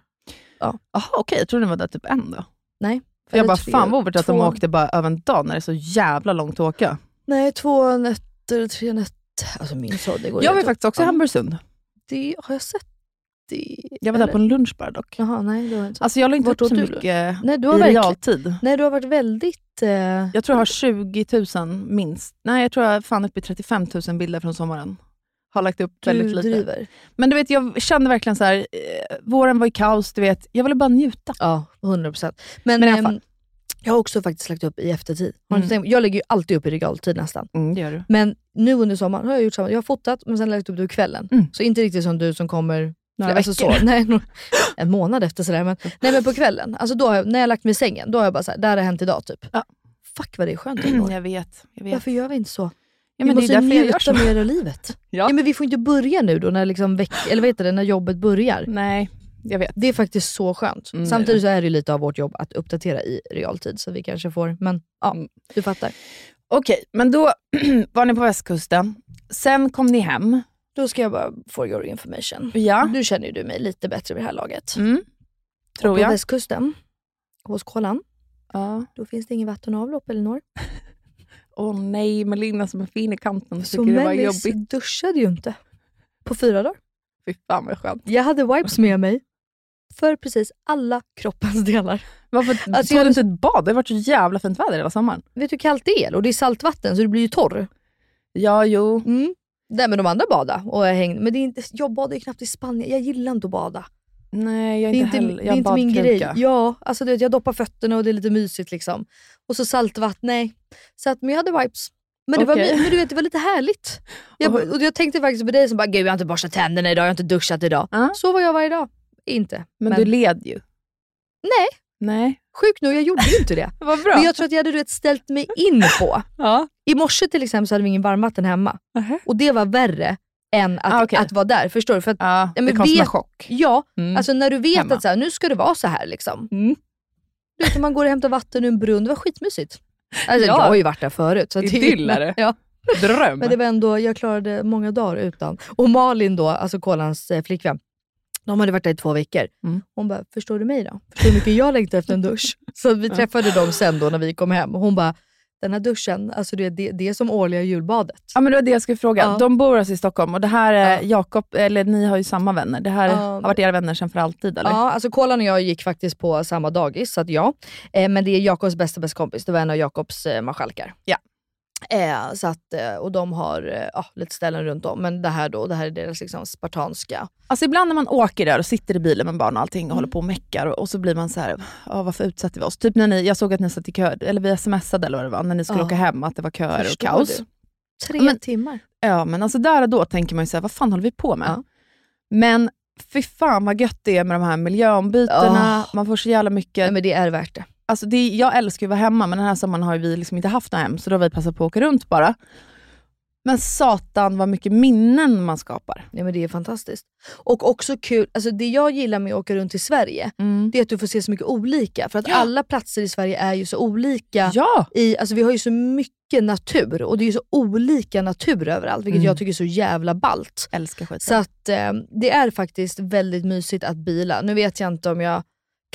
Jaha Ah, okej, jag trodde ni var där typ en då.
Nej.
För jag
Eller
bara,
tre-
fan vad overt att de
två-
åkte bara över en dag när det är så jävla långt att åka.
Nej, två nätter, tre nätter. Alltså min sådd, det går
Jag var
inte.
faktiskt också i
Ja.
Hamburgsund.
Det, har jag sett det?
Jag var där
Eller?
på en lunch bara dock.
Jaha, nej det har jag inte.
Alltså jag la inte
Vart
upp så
åt du?
mycket
nej, du
i
har verkligen,
realtid.
nej, du har varit väldigt... Eh,
Jag tror jag har 20 000 minst. Nej, jag tror jag är fan uppe i 35 000 bilder från sommaren. Har lagt upp
du
väldigt lite.
driver.
Men du vet, jag kände verkligen så här, eh, våren var i kaos, du vet. Jag ville bara njuta.
Ja, 100 procent. Men,
Men Mm. i alla
ehm,
fall.
jag har också faktiskt lagt upp i eftertid. Har du inte tänkt på- Jag lägger ju alltid upp i realtid nästan.
Mm, det gör du.
Men nu under sommaren har jag gjort samma. Jag har fotat, men sen lagt upp det på kvällen.
Mm.
Så inte riktigt som du som kommer
Några
alltså
veckor. Mm.
Så, nej, no- en månad efter sådär. Men, nej men på kvällen, alltså då har jag, när jag har lagt mig i sängen, då har jag bara såhär, där har det hänt idag typ.
Ja.
Fuck vad det är skönt att
Mm,
vara.
jag vet. Jag vet.
Varför gör vi inte så?
Ja,
vi
men det är
måste
därför jag gör
njuta
så.
mer av livet.
Ja.
Nej, men vi får inte börja nu då när, liksom veck- eller vad heter det, när jobbet börjar.
Nej, jag vet.
Det är faktiskt så skönt.
Mm, det är
Samtidigt så är det ju lite av vårt jobb att uppdatera i realtid, så vi kanske får, men ja,
Mm.
du fattar.
Okej, men då var ni på västkusten. Sen kom ni hem.
Då ska jag bara for your information.
Ja,
Nu känner ju du mig lite bättre vid det här laget.
mm. tror
På
jag.
västkusten, hos Kolan,
Ja.
då finns det inget vattenavlopp Elinor.
Åh nej, Melina som är fin i kanten
Så
tycker det var
Mellis
jobbigt.
duschade ju inte på fyra dagar.
Fy fan vad skönt.
Jag hade wipes med mig för precis alla kroppens delar.
Varför
Alltså,
tog
jag-
du inte ett bad? Det har varit så jävla fint väder hela sommaren.
Vet du hur kallt det är? Och det är saltvatten så du blir ju torr.
Ja, jo.
Mm. Där med de andra bada och jag hängde. Men det är inte, jag badar ju knappt i Spanien. Jag gillar inte att bada.
Nej, jag
Det är inte,
heller-
det
jag
är inte min
badkruka.
grej. Ja, alltså du vet, jag doppar fötterna och det är lite mysigt. liksom. Och så saltvatten, nej. Så att, men jag hade wipes. Men, det var,
Okej.
my- men du vet, det var lite härligt. Jag,
Och-
och jag tänkte faktiskt på dig som bara, gud jag har inte borstat tänderna idag, jag har inte duschat idag.
Ja.
Så var jag varje dag. Inte.
Men, du led ju.
Nej,
Nej.
sjukt nog, jag gjorde ju inte det.
Vad bra.
Men jag tror att jag hade du vet, ställt mig in på.
Ja.
I morse till exempel så hade vi ingen varmvatten hemma. Och det var värre än att,
Ah, okej.
att vara där. Förstår du? För att,
Ja,
Ja,
det
men
kom som en
vet-
chock.
ja,
Mm.
alltså när du vet
Hemma.
att så här, nu ska det vara så här liksom.
Mm.
Du vet, man går och hämtar vatten ur en brunn, det var skitmysigt. Alltså,
Ja.
Jag har ju varit där förut. Så att det-
Idyllare.
Ja,
Dröm.
men det var ändå, jag klarade många dagar utan. Och Malin då, alltså Kolans eh, flickvän, de hade varit där i två veckor.
Mm.
Hon bara, förstår du mig då? Förstår du hur mycket jag längtar efter en dusch? Så att vi träffade dem sen då när vi kom hem. Hon bara, den här duschen, alltså det, det, det är som årliga julbadet.
Ja, men det var det jag skulle fråga.
Ja.
De bor alltså i Stockholm och det här är
Ja.
Jakob, eller ni har ju samma vänner. Det här
Ja.
har varit era vänner sedan för alltid eller?
Ja, alltså Kolan och jag gick faktiskt på samma dagis, så att ja. Eh, men det är Jakobs bästa bästa kompis, det var en av Jakobs eh, marskalkar.
Ja.
Eh, så att, eh, och de har eh, ja, lite ställen runt om, men det här då, det här är deras liksom, spartanska.
Alltså ibland när man åker där och sitter i bilen med barn och allting och
Mm.
håller på och meckar och, och så blir man så här, "Ja, varför utsatte vi oss? Typ när ni, jag såg att ni satt i kö, eller vi smsade eller vad det var, när ni skulle
Ja.
åka hem, att det var köer
Förstår
och kaos.
du? Tre
Men-
timmar.
Ja men alltså där och då tänker man ju såhär, vad fan håller vi på med?
Ja.
Men fy fan vad gött det är med de här miljöombytena,
Ah.
man får så jävla mycket.
Nej, men det är värt det.
alltså det, är- jag älskar ju att vara hemma, men den här sommaren har ju vi liksom inte haft något hem, så då har vi passat på att åka runt bara. Men satan vad mycket minnen man skapar.
Nej, men det är fantastiskt. Och också kul, alltså det jag gillar med att åka runt i Sverige, det är att du får se så mycket olika. För att
Mm. Ja.
alla platser i Sverige är ju så olika.
Ja!
i, alltså vi har ju så mycket natur och det är ju så olika natur överallt, vilket
Mm.
jag tycker är så jävla ballt.
Älskar skiten.
Så att eh, det är faktiskt väldigt mysigt att bila. Nu vet jag inte om jag...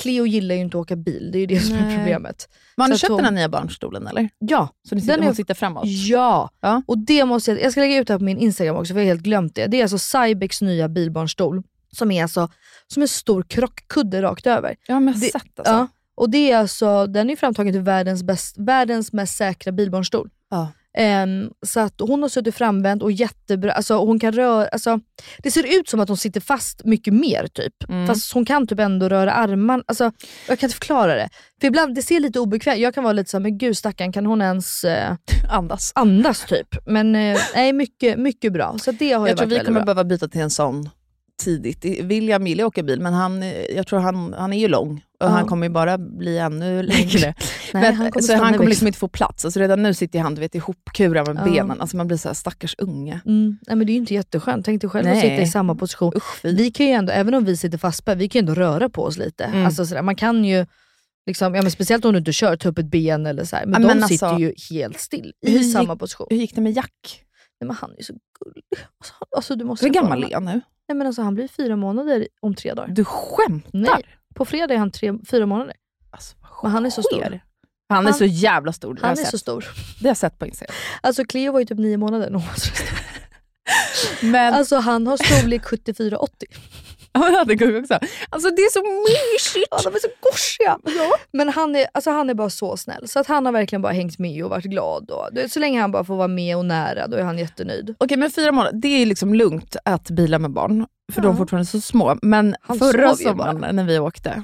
Cleo gillar ju inte att åka bil, det är ju det som
Nej.
är problemet.
Men har
så
ni
att
köpt
hon-
den här nya barnstolen eller?
Ja,
Så ni
Den
sitter,
är-
hon sitter framåt?
ja.
Ja.
och det måste jag, jag ska lägga ut det här på min Instagram också, för jag har helt glömt det. Det är alltså Cybeks nya bilbarnstol, som är alltså som en stor krockkudde rakt över.
Ja men jag har
Det-
sett alltså.
Ja. Och det är alltså, den är framtagen till världens, bäst, världens mest säkra bilbarnstol.
Ja.
Ehm, så att hon har suttit framvänd och jättebra, alltså hon kan röra, alltså, det ser ut som att hon sitter fast mycket mer typ.
Mm.
Fast hon kan typ ändå röra armarna, alltså, jag kan inte förklara det. För ibland, det ser lite obekvämt, jag kan vara lite såhär, men gud stackarn kan hon ens eh,
Andas.
andas typ? Men eh, nej, mycket, mycket bra. Så det har ju
Jag tror
varit
vi
väldigt
kommer
bra.
behöva byta till en sån tidigt. I- William vill ju åka bil, men han, eh, jag tror han, han är ju lång och
Ja.
han kommer ju bara bli ännu längre.
Nej,
Men, så
stanna
han
i
kommer
växeln.
liksom inte få plats. Alltså redan nu sitter han du vet, ihopkurad med
Ja.
benen. Alltså man blir så här, stackars unge.
Mm. Nej, men det är ju inte jätteskönt, tänk dig själv att
Nej.
sitta i samma position.
Usch, fy.
Vi kan ju ändå, även om vi sitter fastspänd, vi kan ju ändå röra på oss lite.
Mm.
Alltså sådär, man kan ju, liksom, ja, men speciellt om du inte kör, ta upp ett ben eller så. Men
Ja,
de
men alltså-
sitter ju helt still i
Hur gick-
samma position.
Hur gick det med Jack?
Nej, men han är ju så gullig. Alltså, han- alltså, du måste
Hur
kolla.
gammal är han nu?
Nej, men alltså, Han blir fyra månader om tre dagar.
Du skämtar?
Nej, på fredag är han tre, fyra månader.
Alltså, vad
Men han är så stor.
sker? Han är
Han-
så jävla stor. Det har
Han är
jag
så
sett.
stor.
Det har jag sett på Instagram.
Alltså Cleo var ju typ nio månader när hon var så stor.
Men,
Alltså han har storlek 74-80.
ja, det går ju också. Alltså det är så mysigt.
Ja, de är så gosiga. Men han är, alltså, han är bara så snäll. Så att han har verkligen bara hängt med och varit glad. Och, du vet, så länge han bara får vara med och nära, då är han jättenöjd.
Okej, men fyra månader, det är ju liksom lugnt att bila med barn, för de är
Ja.
fortfarande så små. Men
Han
förra
sov ju bara.
sommaren när vi åkte,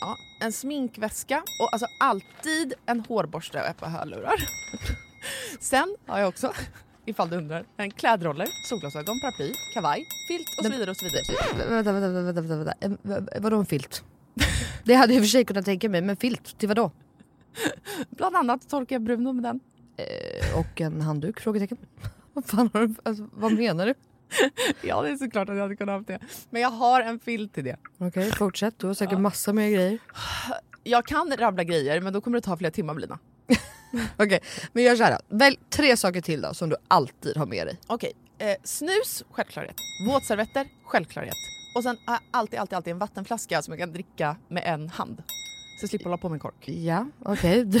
Ja, en sminkväska och alltså alltid en hårborste och ett par hörlurar. Sen har jag också, ifall du undrar, en klädroller, solglasögon, paraply, kavaj, filt och så vidare och så vidare.
Vä- Vänta, vänta, vänta, vänta, vänta. En, v- vadå en filt? Det hade jag i och för sig kunnat tänka mig men filt till vadå?
Bland annat torkar jag Bruno med den.
Eh, och en handduk? Frågetecken. Vad fan har du, alltså, vad menar du?
Ja, det är såklart att jag hade kunnat ha haft det. Men jag har en filt till det.
Okej fortsätt, du har säkert massa mer grejer.
Jag kan rabbla grejer, men då kommer det ta flera timmar Blina.
Okej men gör såhär då. välj tre saker till då som du alltid har med dig.
Okej, eh, snus, självklarhet. Våtservetter, självklarhet. Och sen har jag alltid, alltid, alltid en vattenflaska som jag kan dricka med en hand. Så jag slipper hålla på med en kork.
Ja, okej. Okay.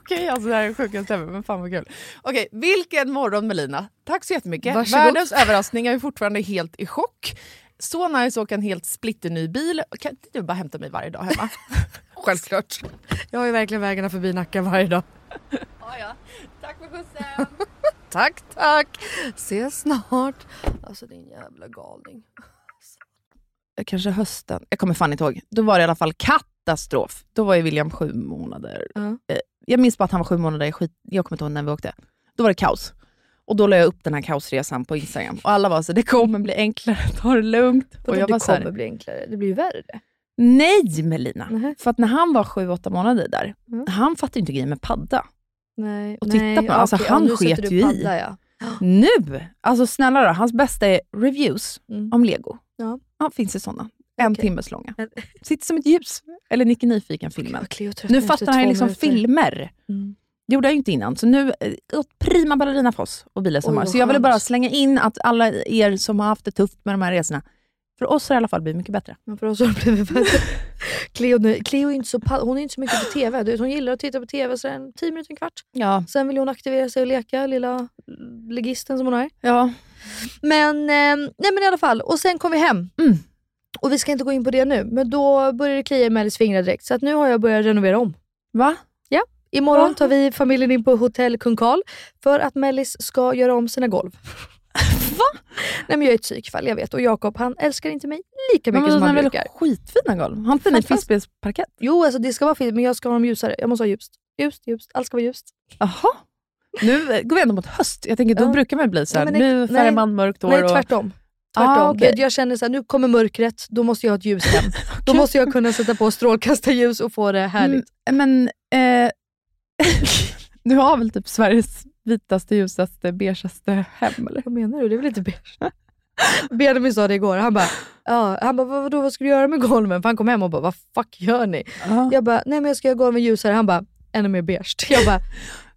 Okej, alltså det här är sjukaste ever, men fan vad kul. Okej, vilken morgon Melina. Tack så jättemycket.
Varsågod.
Världens överraskning, jag är fortfarande helt i chock. Så nice att åka en helt splitterny bil. Kan inte du bara hämta mig varje dag hemma?
Självklart. Jag har ju verkligen vägarna förbi Nacka varje dag.
Tack för skjutsen!
Tack, tack. Ses snart. Alltså din jävla galning.
Kanske hösten. Jag kommer fan inte ihåg. Då var det i alla fall katastrof. Då var ju William sju månader.
Ja.
Eh, Jag minns bara att han var sju månader. Jag Skit, jag kommer inte ihåg när vi åkte. Då var det kaos. Och då la jag upp den här kaosresan på Instagram. Och alla var så det kommer bli enklare, ta det lugnt. Och
Och
jag
det
var så här-
kommer bli enklare. Det blir ju värre.
Nej Melina!
Mhm.
För att när han var sju åtta månader där,
Mm.
han fattade ju inte grejen med padda.
Nej.
Och titta på- alltså,
okej,
han
ja, nu sätter
sket
du
ju i.
padda, Ja.
Nu! Alltså snälla då, hans bästa är reviews
Mm.
om lego.
Ja.
finns det sådana. En
Okej.
timmes långa.
Men-
Sitter som ett ljus. Eller Nicke Nyfiken-filmen.
Gud, Cleo tröttnar
Nu
efter
fattar han ju
två
liksom
minuter.
filmer.
Mm.
Det gjorde han ju inte innan. Så nu, eh, åt prima ballerina för oss och Bila
Oj,
Sommar.
vad
Så jag ville
skönt.
bara slänga in att alla er som har haft det tufft med de här resorna, för oss har det i alla fall blivit mycket bättre.
Men för oss har det blivit värre. Cleo, nu, Cleo är inte så, pa- hon är inte så mycket på TV. Du vet, hon gillar att titta på TV så en 10 minuter, en kvart.
Ja.
Sen vill hon aktivera sig och leka, lilla legisten som hon är.
ja.
Men, eh, nej men i alla fall, och sen kom vi hem.
Mm.
Och vi ska inte gå in på det nu, men då började det klia i Mellis fingrar direkt. Så att nu har jag börjat renovera om.
Va?
Imorgon tar vi familjen in på hotell Kung Karl för att Mellis ska göra om sina golv. Va? Nej men jag är ett psykfall, jag vet. Och Jakob han älskar inte mig lika mycket som han
väl
brukar.
skitfina golv? Har inte ni
Fantastiskt.
fiskbensparkett?
Jo alltså det ska vara fint men jag ska ha dem ljusare. Jag måste ha ljust. Ljust, ljust. Allt ska vara ljust.
Jaha. Nu eh, går vi ändå mot höst. Jag tänker, då
Ja.
brukar man bli såhär,
Nej, men det-
nu färgar
nej.
man mörkt hår.
Nej
och-
tvärtom.
Ah,
tvärtom.
okej.
jag, jag känner så här, nu kommer mörkret, då måste jag ha ett ljus hem. Då måste jag kunna sätta på strålkastarljus och få det härligt.
Mm, Men, eh, du har väl typ Sveriges vitaste, ljusaste, beigaste hem eller?
Vad menar du? Det är väl inte beige? Benjamin sa det igår. Han bara, ja. han bara vad, vadå, vad ska du göra med golven? För han kom hem och bara, vad fuck gör ni? Jag bara, nej men jag ska göra golven ljusare. Han bara, ännu mer beige. Jag bara,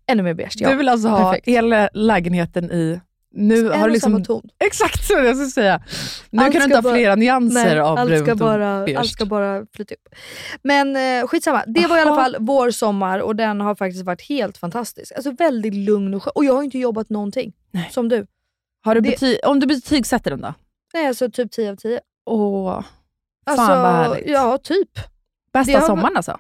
ännu mer beige. Ja.
du vill alltså ha
perfekt.
hela lägenheten i... Nu
en
har du
och samma
liksom...
ton.
Exakt så jag skulle säga. Nu
Allt
kan du
ska
inte ha
bara-
flera nyanser
Nej,
av
allt
brunt
ska, bara,
och beige.
allt ska bara flyta upp. Men eh, skitsamma, det var i alla
Aha.
fall vår sommar och den har faktiskt varit helt fantastisk. Alltså väldigt lugn och skön. Och jag har inte jobbat någonting.
Nej.
Som du.
Har du
det-
bety- om du betygsätter den då?
Nej, alltså typ 10 av 10.
Åh, fan
Alltså,
vad härligt.
Ja, typ.
Bästa
det har-
sommaren alltså?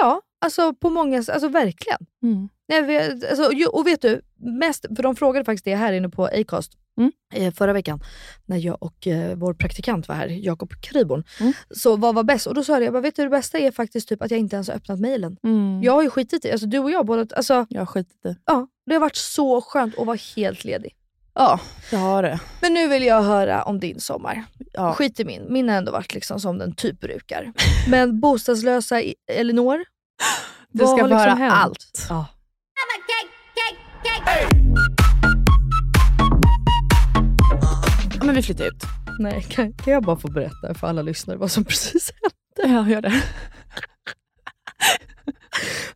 Ja, alltså på många Alltså verkligen.
Mm.
Nej, vi- alltså, ju- och vet du, mest, för de frågade faktiskt det här inne på Acast
Mm.
eh, förra veckan när jag och eh, vår praktikant var här, Jakob Kriborn.
Mm.
Så vad var bäst? Och då sa jag, jag bara, vet du det bästa är faktiskt typ att jag inte ens har öppnat mejlen.
Mm.
Jag har ju skitit i, alltså du och jag båda, alltså
Jag har skitit i.
ja, det har varit så skönt att vara helt ledig.
Ja, jag har det.
Men nu vill jag höra om din sommar.
Ja.
Skit i min, min har ändå varit liksom som den typ brukar. Men bostadslösa i- Elinor,
Du
vad
ska
har
få höra
liksom hänt?
allt.
Ja.
Ja, men vi flyttar ut.
Nej, kan, kan jag bara få berätta för alla lyssnare vad som precis
Ja, gör det.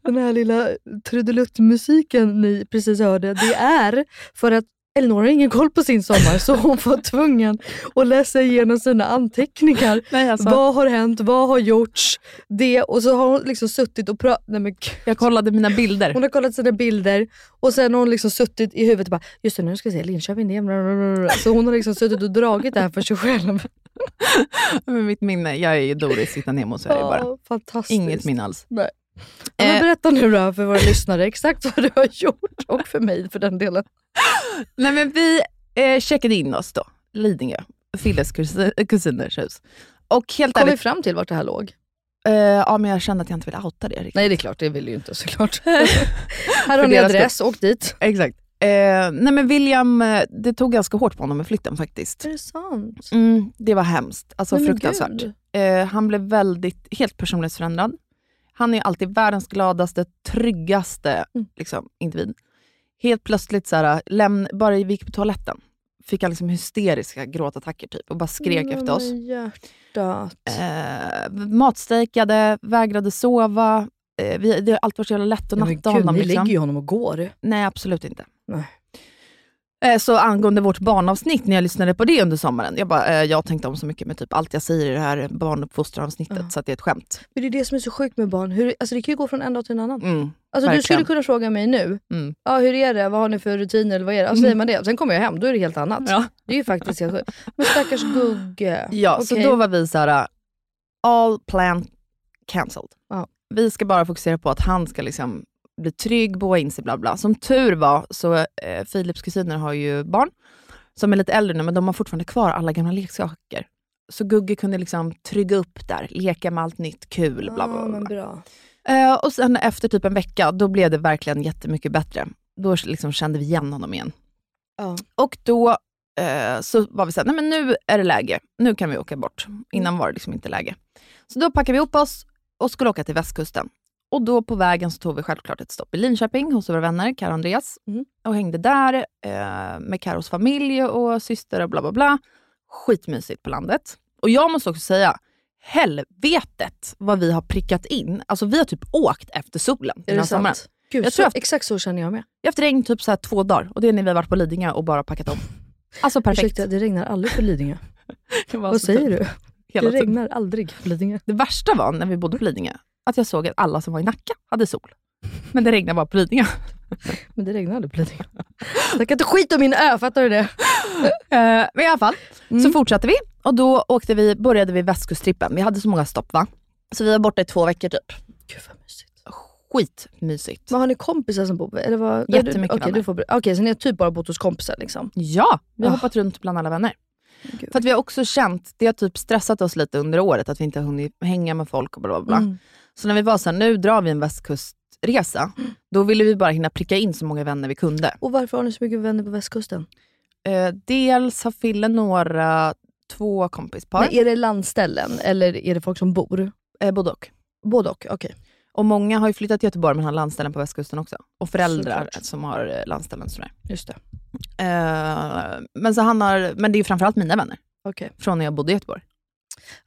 Den här lilla trudeluttmusiken ni precis hörde, det är för att Elinor har ingen koll på sin sommar så hon var tvungen att läsa igenom sina anteckningar.
Nej, alltså,
Vad har hänt? Vad har gjorts? Det och så har hon liksom suttit och pratat. Nej men gud.
jag kollade mina bilder.
Hon har kollat sina bilder och sen har hon liksom suttit i huvudet och bara just det nu ska vi se Linköping det. är bla, bla, bla, bla." Så hon har liksom suttit och dragit det här för sig själv.
Men mitt minne, jag är ju Doris utan Nemo så är det bara.
Ja, fantastiskt.
Inget minne alls.
Ja, men
Eh.
berätta nu då för våra lyssnare exakt vad du har gjort och för mig för den delen.
Nej, men vi eh, checkade in oss då, Lidingö, Filles kusin, kusiners hus. Och helt
Kom vi
ärligt,
fram till vart det här låg?
eh, ja, men jag kände att jag inte ville outa det riktigt.
Nej det är klart, det vill du ju inte såklart. här har ni
deras
adress, åk dit.
Exakt. Eh, nej men William, eh, det tog ganska hårt på honom med flytten faktiskt.
Är det sant?
Mm, det var hemskt, alltså
Nej, men
fruktansvärt.
gud.
Eh, han blev väldigt, helt personlighetsförändrad. Han är ju alltid världens gladaste, tryggaste
Mm.
liksom, individ. Helt plötsligt, så här, lämn, bara vi gick på toaletten, fick han liksom hysteriska gråtattacker typ och bara skrek efter oss.
Men hjärtat.
Eh, matstrejkade, vägrade sova. Eh, vi, det har alltid varit så jävla lätt att
Nej,
natta
men gud,
honom.
ni
liksom.
lägger ju honom och går.
Nej, absolut inte.
Nej.
Eh, Så angående vårt barnavsnitt, när jag lyssnade på det under sommaren, jag, bara, eh, jag har tänkt om så mycket med typ allt jag säger i det här barnuppfostranavsnittet,
Ja.
så att det är ett skämt.
Men det är det som är så sjukt med barn. Hur, alltså det kan ju gå från en dag till en annan.
Mm.
Alltså, du
verkligen.
skulle kunna fråga mig nu,
Mm.
ja, hur är det, vad har ni för rutiner? Eller vad är det? Ja, säger man det, sen kommer jag hem, då är det helt annat.
Ja.
Det är ju faktiskt helt sjukt. Men stackars Gugge.
Ja, så
Okej.
då var vi så här: äh, all plan cancelled.
Ja.
Vi ska bara fokusera på att han ska liksom bli trygg, boa in sig, bla bla. Som tur var så eh, Philips kusiner har ju barn som är lite äldre nu, men de har fortfarande kvar alla gamla leksaker. Så Gugge kunde liksom trygga upp där, leka med allt nytt, kul,
Ja,
bla bla. bla,
Ah, men
bla.
bra.
Eh, och sen efter typ en vecka, då blev det verkligen jättemycket bättre. Då liksom kände vi igen honom igen.
Ja.
Och då eh, så var vi såhär, nej men nu är det läge. Nu kan vi åka bort.
Mm.
Innan var det liksom inte läge. Så då packade vi ihop oss och skulle åka till västkusten. Och då på vägen så tog vi självklart ett stopp i Linköping hos våra vänner, Karo och Andreas.
Mm.
Och hängde där eh, med Karos familj och syster och bla bla bla. Skitmysigt på landet. Och jag måste också säga, helvetet vad vi har prickat in. Alltså vi har typ åkt efter solen
Är
den här
det
sommaren.
sant? Gud,
Jag
så,
tror att-
Exakt så känner jag med.
Jag har haft regn typ så här två dagar och det är när vi har varit på Lidingö och bara packat om. Alltså perfekt.
Ursäkta, det regnar aldrig på Lidingö. Vad
Alltså,
säger
typ
du?
hela
det
tiden.
regnar aldrig på Lidingö.
Det värsta var när vi bodde på Lidingö, att jag såg att alla som var i Nacka hade sol. Men det regnade bara på Lidingö.
Men det regnar aldrig på Lidingö. Jag kan inte skita om min ö, fattar du det?
Eh, men i alla fall,
Mm.
så fortsatte vi och då åkte vi, började vi västkusttrippen. Vi hade så många stopp va? Så vi var borta i två veckor typ.
Gud vad mysigt.
Skitmysigt.
Men har ni kompisar som bor på... Eller vad?
Jättemycket
Okej, du får ber- Okej, så ni har typ bara bott hos kompisar liksom?
Ja, vi har
Ah.
hoppat runt bland alla vänner.
Gud.
För att vi har också känt, det har typ stressat oss lite under året att vi inte har hunnit hänga med folk och bla bla bla.
Mm.
Så när vi var såhär, nu drar vi en västkustresa, då ville vi bara hinna pricka in så många vänner vi kunde.
Och varför har ni så mycket vänner på västkusten?
Eh, dels har Fille några, två kompispar.
Men är det landställen eller är det folk som bor?
eh, både och.
Både och, okej.
Och många har ju flyttat till Göteborg men har landställen på västkusten också. Och föräldrar
Såklart.
som har eh, landställen. och Sådär.
Just det.
Eh, men, så han har, men det är ju framförallt mina vänner
Okej.
från när jag bodde i Göteborg.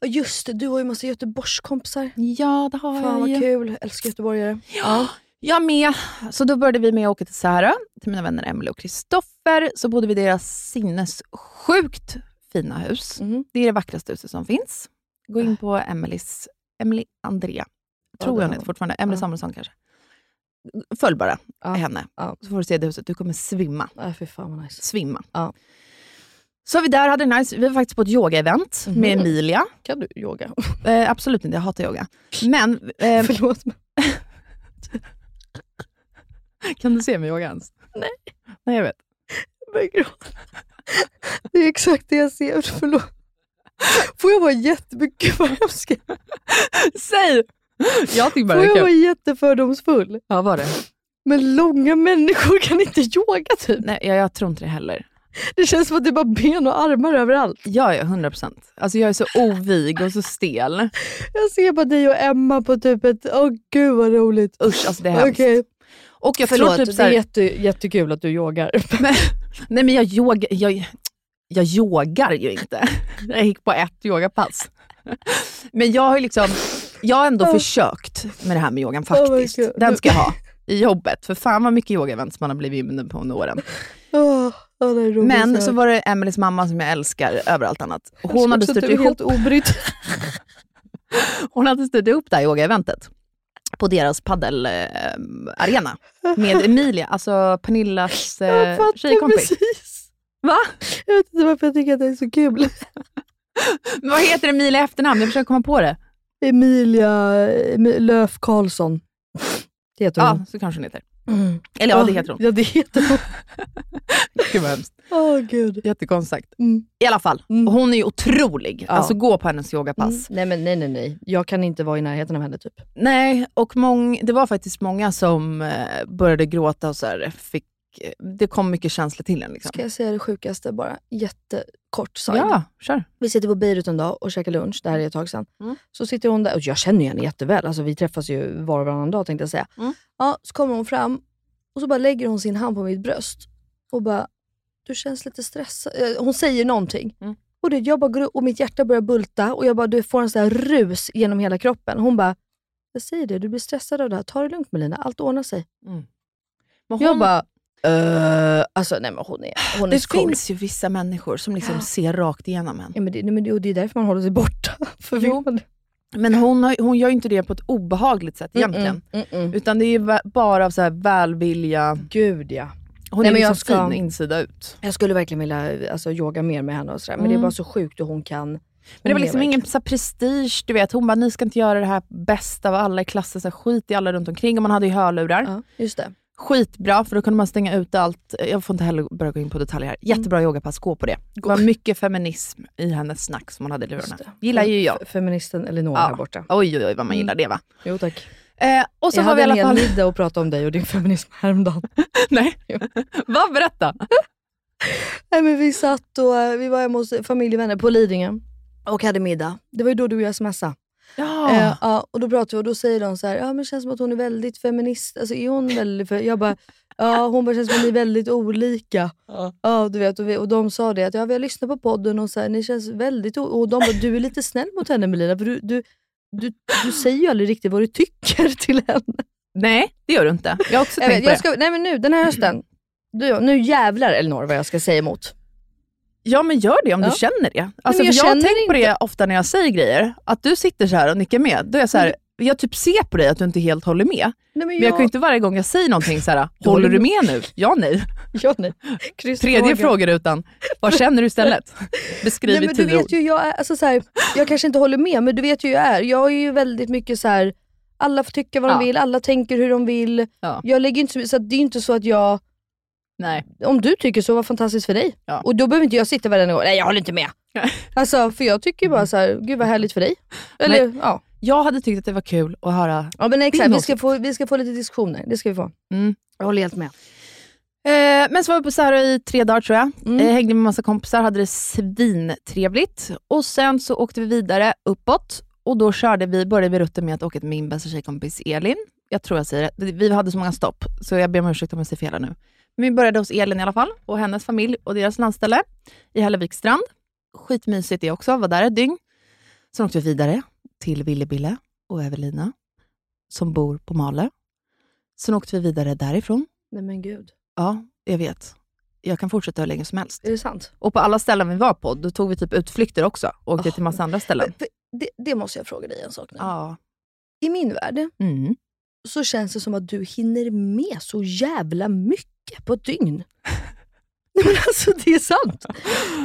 Och Just det, du har ju massa göteborgskompisar.
Ja, det har
Fan vad kul, älskar göteborgare.
Ja. Jag med. Så då började vi med att åka till Särö, till mina vänner Emelie och Kristoffer. Så bodde vi i deras sinnessjukt fina hus.
Mhm.
Det är det vackraste huset som finns. Gå in på Emelies, Emily Andrea,
det
tror jag hon
har
heter
hon.
fortfarande. Emelie
Ja.
Samuelsson kanske. Följ bara
Ja.
henne,
Ja.
så får du se det huset. Du kommer svimma.
Nej, Ah, fy fan vad nice.
svimma.
Ja.
Så vi där hade det nice. Vi var faktiskt på ett yoga-event
Mhm.
med Emilia.
Kan du yoga?
Eh, absolut inte, jag hatar yoga. Men, eh,
Förlåt. men-
kan du se mig yoga ens?
Nej.
Nej, jag vet.
Jag börjar gråta. Det är exakt det jag ser. Förlåt. Får jag vara jättemycket Gud, vad hemskt.
Säg! Jag tycker bara
Får
det
jag
är
vara
kul.
jättefördomsfull?
Ja, var det?
Men långa människor kan inte yoga typ.
Nej, jag, jag tror inte det heller.
Det känns som att det är bara ben och armar överallt.
Jag är 100%. Alltså jag är så ovig och så stel.
Jag ser bara dig och Emma på typ ett, åh gud vad roligt.
Usch, alltså det är hemskt.
Okej.
Och jag
Förlåt,
tror typ
det är
såhär,
jätte, jättekul att du yogar.
nej men jag, yoga, jag, jag yogar ju inte. Jag gick på ett yogapass. Men jag har ju liksom, jag har ändå försökt med det här med yogan
Oh my
faktiskt.
God.
Den ska jag ha i jobbet. För fan vad mycket yoga-events man har blivit inbjuden på under åren.
Åh, åh, det är roligt.
Men så var det Emelies mamma som jag älskar över allt annat.
Alltså,
Hon hade styrt
ihop.
ihop
typ Helt obrytt.
Hon hade styrt upp det här yoga-eventet på deras paddelarena med Emilia, alltså Pernillas
Jag
eh,
fattar
tjejkompis.
precis.
Va?
Jag vet inte varför jag tycker att det är så kul.
Men Vad heter Emilia i efternamn? Jag försöker komma på det.
Emilia Löf Karlsson. Det heter
Ja,
hon.
så kanske hon heter. Eller ja, det heter hon.
Ja, det heter hon.
Gud vad hemskt.
Åh gud.
Jättekonstigt. Mm. I alla fall, och hon är ju otrolig.
Ja.
Alltså gå på hennes yogapass.
Mm. Nej, men nej, nej, nej. Jag kan inte vara i närheten av henne typ.
Nej, och mång, det var faktiskt många som eh, började gråta och så här, fick, eh, det kom mycket känslor till en. Liksom.
Ska jag säga det sjukaste bara? Jättekort side.
Ja, kör.
Vi sitter på Beirut en dag och käkar lunch, det här är ett tag sedan.
Mm.
Så sitter hon där, och jag känner ju henne jätteväl, alltså, vi träffas ju var och varannan dag tänkte jag säga.
Mm.
Ja, så kommer hon fram och så bara lägger hon sin hand på mitt bröst och bara, du känns lite stressad. Eh, Hon säger någonting.
Mm.
Och, det, jag bara går, upp och mitt hjärta börjar bulta och jag bara, du får en sån här rus genom hela kroppen. Hon bara, jag säger det, du blir stressad av det här. Ta det lugnt Melina, allt ordnar sig.
Men
Jag
hon-
bara, eh, alltså nej men hon är, hon är
det
så cool.
finns ju vissa människor som liksom ser rakt igenom en.
Ja, men det, nej, men det, och det är därför man håller sig borta. För
Jo,
vill man-
Men hon, har, hon gör ju inte det på ett obehagligt sätt egentligen.
Mm, mm, mm.
Utan det är ju va- bara av så här välvilja.
Gud ja.
Hon
Nej,
är
men jag
liksom
ska-
fin insida ut.
Jag skulle verkligen vilja alltså, yoga mer med henne och sådär, men det är bara så sjukt hur hon kan.
Mm. Men det var
hon
liksom
lever.
ingen så här prestige, du vet. Hon bara, ni ska inte göra det här bästa av alla i klassen, så här, skit i alla runt omkring. Och man hade ju hörlurar.
Ja, just det.
Skitbra, för då kunde man stänga ut allt. Jag får inte heller börja gå in på detaljer här.
Mm.
Jättebra yogapass, gå på det. Det var mycket feminism i hennes snack som hon hade i lurarna.
Just det.
Gillar ju jag.
F- Feministen Elinor här borta. Mm.
Oj, oj, oj vad man gillar det va.
Jo tack.
Eh, och så
jag
har vi
hade
i alla
en hel
fall...
middag och prata om dig och din feminism häromdagen.
Nej, vad berätta.
Nej, men vi satt och eh, vi var hemma hos familjevänner på Lidingö och hade middag. Det var ju då du och jag smsade.
Ja.
Eh, ja, och då pratade vi och då säger de så här, ja men det känns som att hon är väldigt feminist. Alltså är hon väldigt fe-" Jag bara, ja hon bara känns som att ni är väldigt olika. Ja. du vet, och, vi, och de sa det att, ja vi har lyssnat på podden och så här, ni känns väldigt o-" Och de bara, du är lite snäll mot henne Melina för du, du, du, du säger ju aldrig riktigt vad du tycker till henne.
Nej, det gör du inte. Jag har också
Jag vet,
tänkt på
jag
det.
ska, nej men nu, den här hösten. Du, nu jävlar Elinor vad jag ska säga emot.
Ja men gör det om
Ja.
du känner det. Alltså,
men jag
jag, för jag har
känner
tänkt på
inte-
det ofta när jag säger grejer, att du sitter så här och nickar med. Då är jag så här, jag typ ser på dig att du inte helt håller med.
Nej,
Men jag kan ju inte varje gång jag säger någonting så här,
Du håller
håller du med nu? Ja, nej.
Ja, nej.
Tredje frågan utan, vad känner du istället? Beskriv
Nej,
i
men du
tio ord.
vet ju, hur jag, är, alltså, så här, jag kanske inte håller med, men du vet ju hur jag är. Jag är ju väldigt mycket så här. alla får tycka vad de
Ja.
vill, alla tänker hur de vill.
Ja.
Jag lägger inte, så- så att det är inte så att jag,
Nej.
om du tycker så, vad fantastiskt för dig.
Ja.
Och då behöver inte jag sitta varenda gång, nej jag håller inte med.
Nej.
Alltså, för jag tycker ju
Mm.
bara så här, gud vad härligt för dig. Eller, ja.
Jag hade tyckt att det var kul att höra
ja men
Din
exakt, vi ska,
åsikt.
få, vi ska få lite diskussioner, det ska vi få.
Mm.
Jag håller helt med.
Eh, men så var vi på Särö i tre dagar tror jag.
Mm.
Eh, hängde med massa kompisar, hade det svintrevligt. Och sen så åkte vi vidare uppåt och då körde vi, började vi rutten med att åka till min bästa tjejkompis Elin. Jag tror jag säger det. Vi hade så många stopp, så jag ber om ursäkt om jag säger fel här nu. Men vi började hos Elin i alla fall och hennes familj och deras landställe i Hälleviksstrand. Skitmysigt det också, var där ett dygn. Sen åkte vi vidare till Villebille och Evelina som bor på Malö. Sen åkte vi vidare därifrån
Nej men gud,
Ja, jag vet. Jag kan fortsätta hur länge som helst.
är det sant?
Och på alla ställen vi var på, då tog vi typ utflykter också och åkte
Oh.
till massa andra ställen.
För det, det måste jag fråga dig en sak nu.
Ja.
I min värld,
Mm.
så känns det som att du hinner med så jävla mycket på ett dygn. Nej, men alltså det är sant.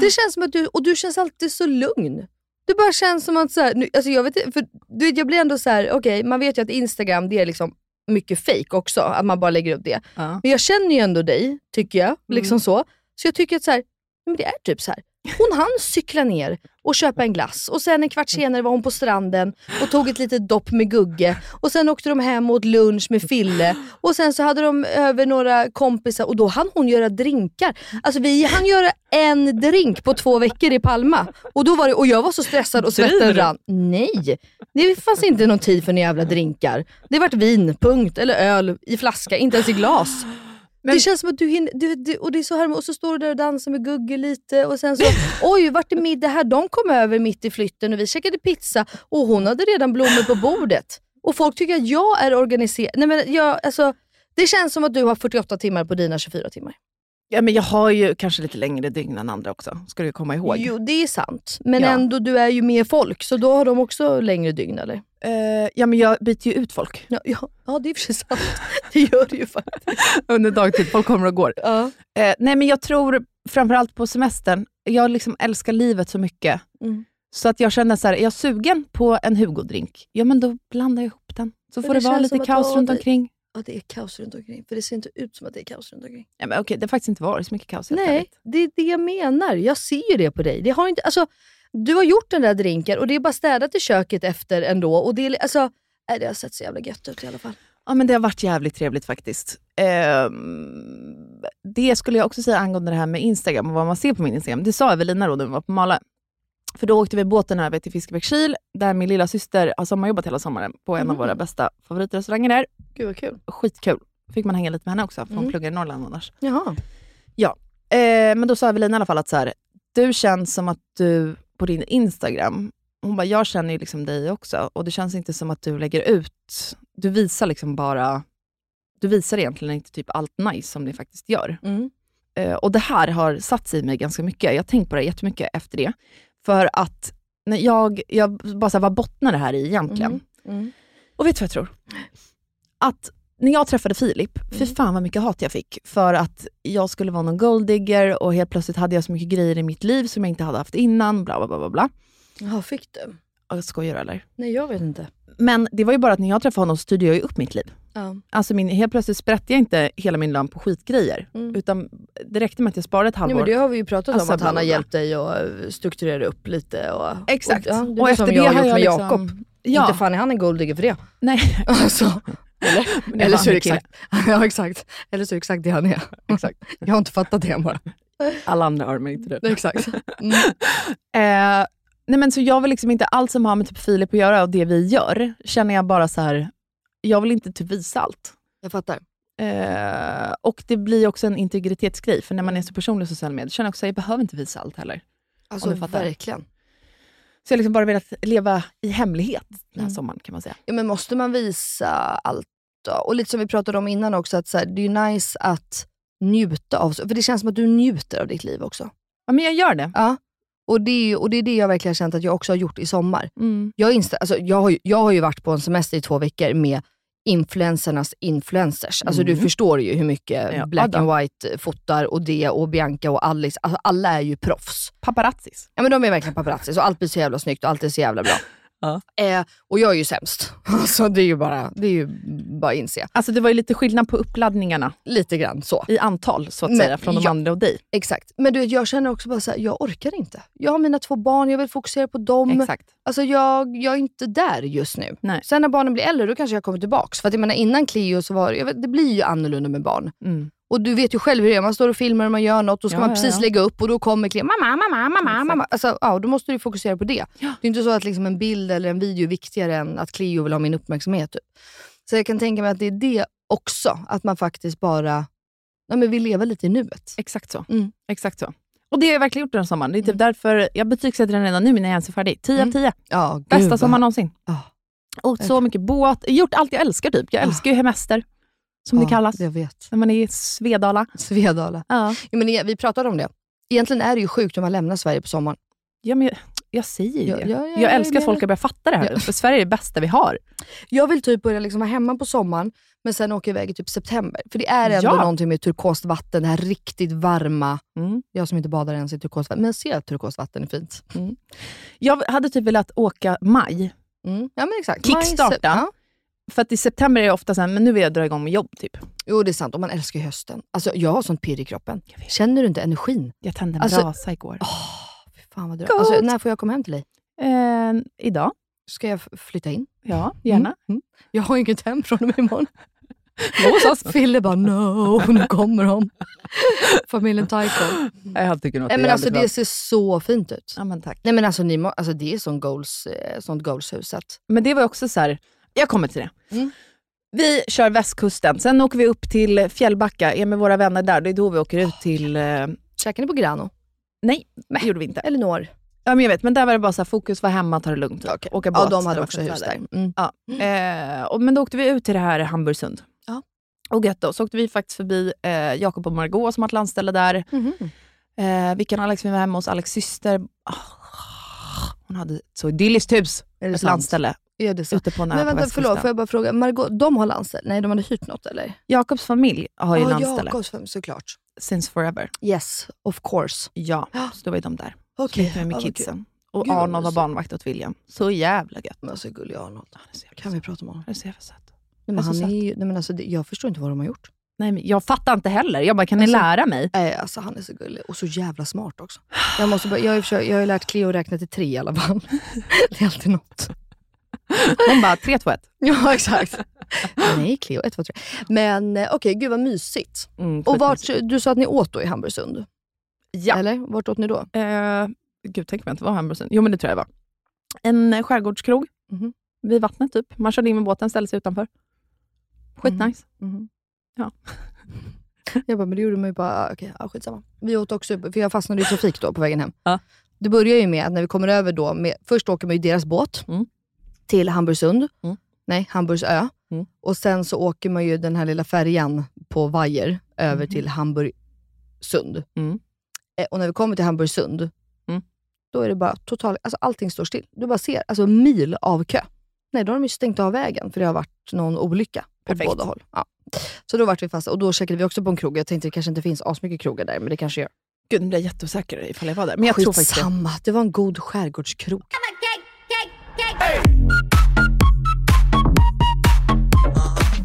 Det känns som att du, och du känns alltid så lugn. Det bara känns som att, så här, nu, alltså jag, vet, inte- för, du, vet, jag blir ändå så här, okej man vet ju att Instagram det är liksom mycket fake också, att man bara lägger upp det.
Ja. Mm.
Men jag känner ju ändå dig, tycker jag. Liksom så. så jag tycker att så här, men det är typ så här. Hon hann cykla ner och köpa en glass och sen en kvart senare var hon på stranden och tog ett litet dopp med Gugge och sen åkte de hem och åt lunch med Fille och sen så hade de över några kompisar och då hann hon göra drinkar. Alltså vi hann göra en drink på två veckor i Palma och, då var det, och jag var så stressad och
Driver
svetten
du?
rann. Nej, det fanns inte någon tid för några jävla drinkar. Det vart vin, punkt, eller öl i flaska, inte ens i glas. Det känns som att du hinner, du, du, och det är så här, och så står du där och dansar med Gugge lite och sen så, oj vart är middag här? De kom över mitt i flytten och vi käkade pizza och hon hade redan blommor på bordet. Och folk tycker att jag är organiserad. Nej, men jag, alltså, det känns som att du har 48 timmar på dina 24 timmar.
ja, men jag har ju kanske lite längre dygn än andra också, ska du komma ihåg.
Jo, det är sant. Men
Ja.
ändå, du är ju med folk, så då har de också längre dygn eller?
Eh, ja, men jag byter ju ut folk
Ja, ja, ja det är i och för sig sant. Det gör du ju faktiskt.
under dagtid. Folk kommer och går.
Ja.
Eh, nej, men jag tror framförallt på semestern, jag liksom älskar livet så mycket.
Mm.
Så att jag känner så här, är jag sugen på en Hugo-drink, ja men då blandar jag ihop den. Så
Men
får
det
det, vara
känns
lite
som att
kaos
då-
runt
det-
omkring.
ja, det är kaos runt omkring. För det ser inte ut som att det är kaos runt omkring.
Ja, men okej, det har faktiskt inte varit så mycket kaos. helt
Nej,
ärligt.
det är det jag menar. Jag ser ju det på dig. Det har inte, alltså, du har gjort den där drinken och det är bara städat i köket efter ändå. Och det, är, alltså, nej, det har sett så jävla gött ut i alla fall.
Ja, men det har varit jävligt trevligt faktiskt. Ehm, det skulle jag också säga angående det här med Instagram och vad man ser på min Instagram. Det sa Evelina då när vi var på Malö. För då åkte vi båten över till Fiskebäckskil där min lilla syster har sommarjobbat hela sommaren på en av våra bästa favoritrestauranger där.
Gud vad kul.
Skitkul. Fick man hänga lite med henne också, för hon pluggar i Norrland annars.
Jaha.
Eh, men då sa Evelina i alla fall att så här, du känns som att du på din Instagram, hon bara, jag känner ju liksom dig också och det känns inte som att du lägger ut, du visar liksom bara, du visar egentligen inte typ allt nice som ni faktiskt gör.
Mm.
Eh, och det här har satt sig i mig ganska mycket. Jag har tänkt på det jättemycket efter det. För att när jag, jag bara så här, vad bottnar det här i egentligen?
Mm.
Och vet du vad jag tror? Att när jag träffade Filip, fy
Mm.
fan vad mycket hat jag fick för att jag skulle vara någon golddigger och helt plötsligt hade jag så mycket grejer i mitt liv som jag inte hade haft innan, bla bla bla bla. bla.
Jaha, fick du?
Och Jag skojar eller?
Nej, jag vet inte.
Men det var ju bara att när jag träffade honom så styrde jag ju upp mitt liv.
Ja.
Alltså min, helt plötsligt sprätte jag inte hela min lön på skitgrejer. Utan det räckte med att jag sparade ett halvår.
Nej, Mm. men det har vi ju pratat
Alltså,
om, att han
bla,
har
bla, bla.
hjälpt dig att eh, strukturera upp lite. Och,
Exakt.
Och, ja, det är och efter som det jag har gjort med Jakob.
liksom- Ja.
Inte fan är han en golddigger för det.
Nej.
Alltså, eller,
det
eller
var
så är det
en kille.
exakt. Ja, exakt. Eller så är det exakt det han är. Exakt. Jag har inte fattat det än bara.
Alla andra har det, men inte du.
Nej, Exakt.
Eh, nej men så jag vill liksom inte allt som har med typ Filip att göra och det vi gör, känner jag bara så här. jag vill inte typ visa allt.
Jag fattar.
Eh, och det blir också en integritetsgrej, för när man är så personlig i sociala medier känner jag också att jag behöver inte visa allt heller.
Alltså
Om du fattar.
verkligen.
Så jag har liksom bara velat leva i hemlighet den här
Mm.
sommaren kan man säga.
Ja, men måste man visa allt då? Och lite som vi pratade om innan också, att så här, det är ju nice att njuta av, för det känns som att du njuter av ditt liv också.
Ja men jag gör det.
Ja. Och det, är ju, och det är det jag verkligen har känt att jag också har gjort i sommar.
Mm.
Jag, insta, alltså, jag, har, ju, jag har ju varit på en semester i två veckor med influencernas influencers. Alltså du förstår ju hur mycket
Mm. Ja,
black
då.
and white fotar och det och Bianca och Alice. Alltså, alla är ju proffs.
Paparazzis.
Ja men de är verkligen paparazzi, så allt blir så jävla snyggt och allt är så jävla bra.
Ja.
Eh, och jag är ju sämst. Alltså, det är ju bara, det är ju bara att inse.
Alltså det var ju lite skillnad på uppladdningarna
Lite grann så.
i antal så att
Men-
säga, från de
ja.
andra och dig.
Exakt. Men du, vet, jag känner också bara så här, jag orkar inte. Jag har mina två barn, jag vill fokusera på dem.
Exakt.
Alltså jag, jag är inte där just nu.
Nej.
Sen när barnen blir äldre, då kanske jag kommer tillbaks. För att jag menar, innan Cleo så var jag vet, det blir ju annorlunda med barn.
Mm.
Och du vet ju själv hur det är, man står och filmar och man gör något, då ska
Ja,
man
ja,
precis
ja.
lägga upp och då kommer Cleo, mamma, mamma, mamma, mamma. Alltså, ja, då måste du fokusera på det. Det är inte så att liksom en bild eller en video är viktigare än att Cleo vill ha min uppmärksamhet. Typ. Så jag kan tänka mig att det är det också, att man faktiskt bara nej, men vill leva lite i nuet.
Exakt så.
Mm.
Exakt så. Och det har jag verkligen gjort den här sommaren. Det är typ därför jag betygsätter den redan nu när jag ens är färdig. 10 av
Mm.
10.
Ja, gud,
Bästa
vad-
sommaren någonsin.
Ja.
Åkt så mycket båt, gjort allt jag älskar typ. Jag
Ja.
älskar ju hemester, som
Ja,
det kallas.
Jag vet.
När man är i Svedala.
Svedala.
Ja.
Ja, men det- vi pratade om det. Egentligen är det ju sjukt om man lämnar Sverige på sommaren.
men jag, jag säger ju
Ja,
det.
ja, ja,
jag
jag
älskar att
menar-
folk har börjat fatta det här. För Sverige är det bästa vi har.
Jag vill typ börja liksom vara hemma på sommaren, men sen åka iväg i typ september. För det är ändå
Ja.
någonting med turkost vatten, det här riktigt varma.
Mm.
Jag som inte badar ens i turkost vatten, men jag ser att turkost vatten är fint.
Jag hade typ velat åka maj,
Mm. Ja men exakt.
Kickstarta.
Maj, se- ja.
för att i september är jag ofta såhär, men nu vill jag dra igång med jobb typ.
Jo det är sant, och man älskar ju hösten. Alltså jag har sånt pirr i kroppen. Känner du inte energin?
Jag tände en
Alltså-
brasa igår.
Fy fan vad dröm.
Gott.
Alltså, när får jag komma hem till dig?
Eh, idag,
Ska jag f- flytta in?
ja gärna.
Mm. Jag har inget hem från och med imorgon. Fille bara no, nu kommer de. Familjen Taiko.
Jag tycker nog
Nej, men alltså, det ser så fint ut.
Ja, men tack.
Nej, Mm. men alltså, ni må, alltså, det är sån goals, eh, sånt goalshus. att-
Men det var också så här, jag kommer till det.
Mm.
Vi kör västkusten, sen åker vi upp till Fjällbacka, är med våra vänner där. Det är då vi åker ut till... Eh,
Käkar ni på Grano?
nej, det gjorde vi inte.
Elinor?
Ja, men jag vet, men där var det bara så här, fokus var hemma, ta det lugnt. typ.
Okej.
Åka båt.
Ja, de
när det
hade
var
också
fint
hus
väder.
där. Mm.
Ja. Eh, och, men då åkte vi ut till det här Hamburgsund.
Ja.
Och gött då. Så åkte vi faktiskt förbi eh, Jakob och Margot som har ett landställe där.
Mhm.
Eh, Vickan och Alex vi var hemma hos Alex syster. Ah, hon hade ett så idylliskt hus.
Är det
Ett
sant?
landställe
Ja, det är sant.
ute på en ö
Men
på
vänta,
västkusten.
förlåt, får jag bara fråga. Margot, de har landställe? Nej, de hade hyrt något eller?
Jakobs familj har ju landställe.
Jakobs familj, såklart.
Since forever.
Yes, of course.
Ja,
Ja.
så då var ju de där.
Okej.
Okay. Med
vad
kidsen. Och
Gud, vad
Arnold var
mysigt.
barnvakt åt William. Så jävla gött.
kul. Men så gullig Arnold.
Han är så jävla
Kan vi prata om honom?
Han är så jävla söt.
Nej, men
Alltså,
han
så
är
att-
ju, nej, men alltså, det- jag förstår inte vad de har gjort.
Nej, men jag fattar inte heller. Jag bara, kan ni
Alltså-
lära mig?
Nej, alltså han är så gullig och så jävla smart också. Jag, måste bara, jag, har ju försökt, jag har ju lärt Cleo att räkna till tre i alla fall. Det är alltid något.
Hon bara, 3, 2, 1.
Ja, exakt. Nej, Cleo. Ett, två, tre. Men eh, okej, gud vad mysigt.
Mm,
Och vart, du sa att ni åt då i Hamburgsund?
Ja.
Eller vart åt ni då?
Eh, gud, tänk om jag inte var Hamburgsund. Jo, men det tror jag det var. En eh, skärgårdskrog
Mhm.
vid vattnet typ. Man körde in med båten, ställde sig utanför. Skitnice. Ja.
Jag bara, men det gjorde mig bara, okej, ja, skitsamma. Vi åt också, upp- för jag fastnade i trafik då på vägen hem.
Ja.
Det börjar ju med att när vi kommer över då, med, först åker man ju deras båt
Mm.
till Hamburgsund.
Mm.
Nej, Hamburgsö.
Mm.
Och sen så åker man ju den här lilla färjan på vajer över till Hamburgsund.
Mm.
Eh, Och när vi kommer till Hamburgsund,
Mm.
då är det bara totalt, alltså allting står still. Du bara ser alltså mil av kö. Nej, då har de ju stängt av vägen för det har varit någon olycka på
Perfekt.
båda håll. Ja. Så då vart vi fast och då checkade vi också på en krog. Jag tänkte det kanske inte finns asmycket krogar där, men det kanske gör.
Gud, nu blir jag jätteosäker ifall jag var där. Men jag tror faktiskt det.
Skitsamma, det var en god skärgårdskrog.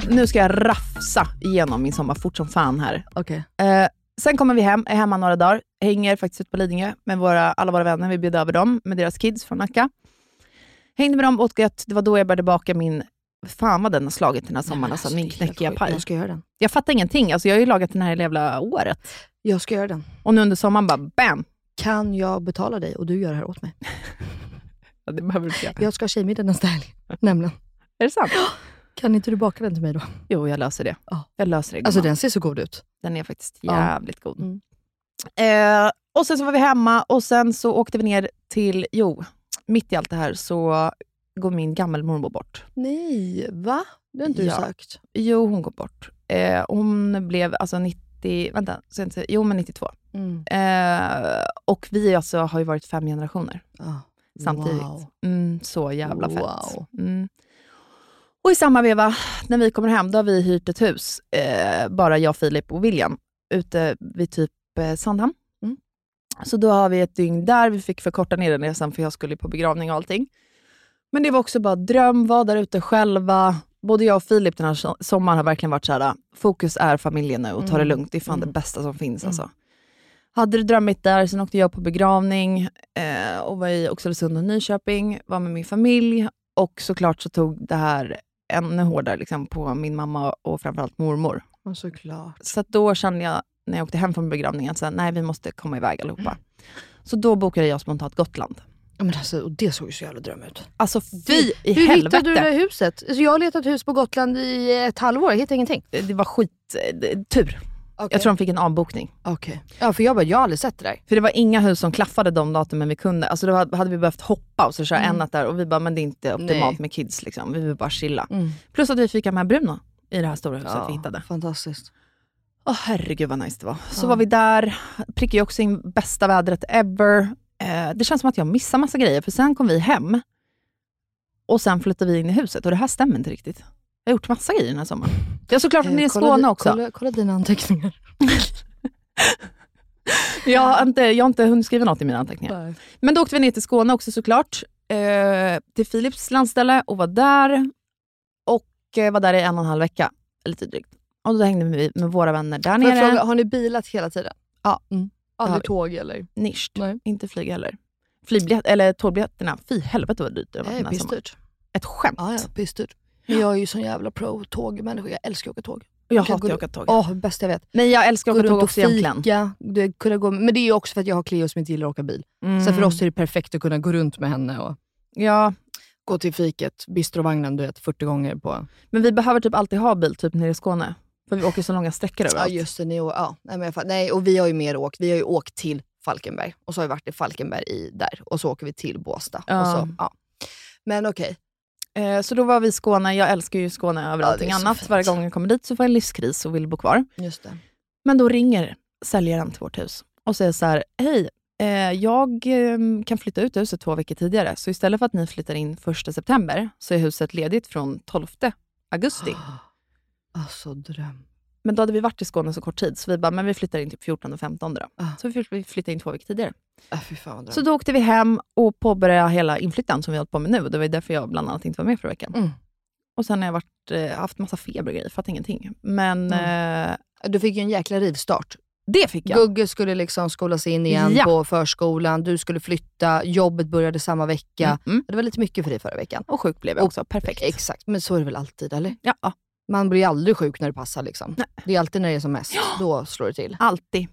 Nu ska jag rafsa igenom min sommar fort som fan här.
Okej.
Eh, sen kommer vi hem, är hemma några dagar, hänger faktiskt ute på Lidingö med våra, alla våra vänner. Vi bjöd över dem med deras kids från Nacka. Hängde med dem, åt gött. Det var då jag började baka min, fan vad den har slagit den här sommaren, alltså, min knäckiga paj.
Jag ska göra den.
Jag fattar ingenting, alltså, jag har ju lagat den här hela jävla året.
Jag ska göra den.
Och nu under sommaren bara bam!
Kan jag betala dig och du gör det här åt mig?
Ja, det behöver du inte göra.
Jag ska ha tjejmiddag nästa helg, nämligen.
Är det sant?
Kan inte du baka den till mig då?
Jo, jag löser det.
Ja.
Jag löser det.
Alltså
gumman.
den ser så god ut.
Den är faktiskt
Ja.
jävligt god.
Mm.
Eh, och sen så var vi hemma och sen så åkte vi ner till, jo, mitt i allt det här så går min gammelmormor bort.
Nej, va? Det har inte
Ja.
du sagt.
Jo, hon går bort. Eh, hon blev alltså 90, vänta, så jag inte, säger- jo men 92.
Mm.
Eh, och vi alltså har ju varit fem generationer
Ah.
samtidigt.
Wow.
Mm, så jävla fett.
Wow.
Mm. Och i samma veva, när vi kommer hem, då har vi hyrt ett hus, eh, bara jag, Filip och William, ute vid typ eh, Sandhamn.
Mm.
Så då har vi ett dygn där, vi fick förkorta ner den resan för jag skulle på begravning och allting. Men det var också bara dröm, vara där ute själva. Både jag och Filip den här so- sommaren har verkligen varit så här, äh, fokus är familjen nu och ta det
Mm.
lugnt. Det är fan
Mm.
det bästa som finns
Mm.
alltså. Hade det drömmigt där, sen åkte jag på begravning eh, och var i Oxelösund och Nyköping, var med min familj och såklart så tog det här ännu hårdare liksom, på min mamma och framförallt mormor.
Ja, såklart.
Så att då kände jag, när jag åkte hem från begravningen, att nej vi måste komma iväg allihopa. Så då bokade jag spontant Gotland.
Ja, men alltså, och det såg ju så jävla dröm ut.
Alltså fy i
Hur
helvete!
hittade du det där huset? Alltså, jag har letat hus på Gotland i ett halvår, jag hittar ingenting.
det? var skit, eh, det- tur. Jag tror de fick en avbokning.
Okej. Ja, för jag bara, jag har aldrig sett det där.
För det var inga hus som klaffade de datumen vi kunde. Alltså då hade hade vi behövt hoppa och så köra en natt där och vi bara, men det är inte optimalt
Mm. Nej.
med kids liksom. Vi vill bara chilla.
Mm.
Plus att vi fick ha med Bruno i det här stora huset vi hittade.
Fantastiskt.
Åh herregud vad nice det var. Så var vi där, prickade ju också in bästa vädret ever. Eh, det känns som att jag missar massa grejer, för sen kom vi hem och sen flyttade vi in i huset och det här stämmer inte riktigt. Jag har gjort massa grejer den här sommaren. Jag har såklart varit nere i Skåne också.
Eh, Kolla, kolla dina anteckningar.
Jag, har inte, jag har inte hunnit skriva något i mina anteckningar. Men då åkte vi ner till Skåne också såklart, eh, till Philips landställe och var där. Och eh, var där i en och en halv vecka, lite drygt. Och då hängde vi med våra vänner där
Får jag
nere.
fråga, har ni bilat hela tiden?
Ja.
Mm.
har
Aldrig
vi.
tåg eller?
Nischt.
Nej.
Inte flyg heller. Flygbiljett, eller tågbiljetterna, fy helvete vad dyrt det var
Nej,
den här sommaren.
pissdyrt.
Ett skämt.
Ja, ja, pissdyrt. Men jag är ju sån jävla pro-tågmänniska. Jag älskar att åka tåg.
Och jag
kan
hatar
gå-
att åka tåg.
Åh, bäst jag vet.
Men jag älskar att
Gå
åka
runt
tåg
och
också egentligen.
fika. Det, kunna gå, men det är ju också för att jag har Cleo som inte gillar att åka bil.
Mm.
Så för oss är det perfekt att kunna gå runt med henne och
Ja,
gå till fiket, bistrovagnen, du vet, 40 gånger på...
men vi behöver typ alltid ha bil typ nere i Skåne. För vi åker så långa sträckor
Ja,
överallt.
just det. Ni, å- ja. Nej, men jag, fatt- nej, och vi har ju mer åkt. Vi har ju åkt till Falkenberg och så har vi varit i Falkenberg i, där och så åker vi till Båstad. Och
Ja.
så, ja. Men okej,
Eh, Så då var vi i Skåne. Jag älskar ju Skåne över
Ja, det
allting
är så
annat.
fint.
Varje gång jag kommer dit så får jag en livskris och vill bo kvar.
just det.
Men då ringer säljaren till vårt hus och säger så här, hej, eh, jag eh, kan flytta ut huset två veckor tidigare. Så istället för att ni flyttar in 1 september så är huset ledigt från 12 augusti.
Alltså dröm.
Men då hade vi varit i Skåne så kort tid, så vi bara, men vi flyttar in typ 14 och 15 då.
Ah.
Så vi flytt- vi flyttade in två veckor tidigare.
Äh, fy fan vad dröm.
Så då åkte vi hem och påbörjade hela inflyttan som vi har hållit på med nu. Det var ju därför jag bland annat inte var med förra veckan.
Mm.
Och sen har jag varit, eh, haft massa feber och grejer, fattar ingenting. Men
Mm.
eh,
Du fick ju en jäkla rivstart.
det fick jag.
Gugge skulle liksom skolas in igen
Ja.
på förskolan, du skulle flytta, jobbet började samma vecka.
Mm.
Det var lite mycket för dig förra veckan.
Och sjuk blev jag också, perfekt.
Exakt, men så är det väl alltid eller?
Ja, ja,
Man blir ju aldrig sjuk när det passar. Liksom.
Nej.
Det är alltid när det är som mest, då slår det till.
alltid.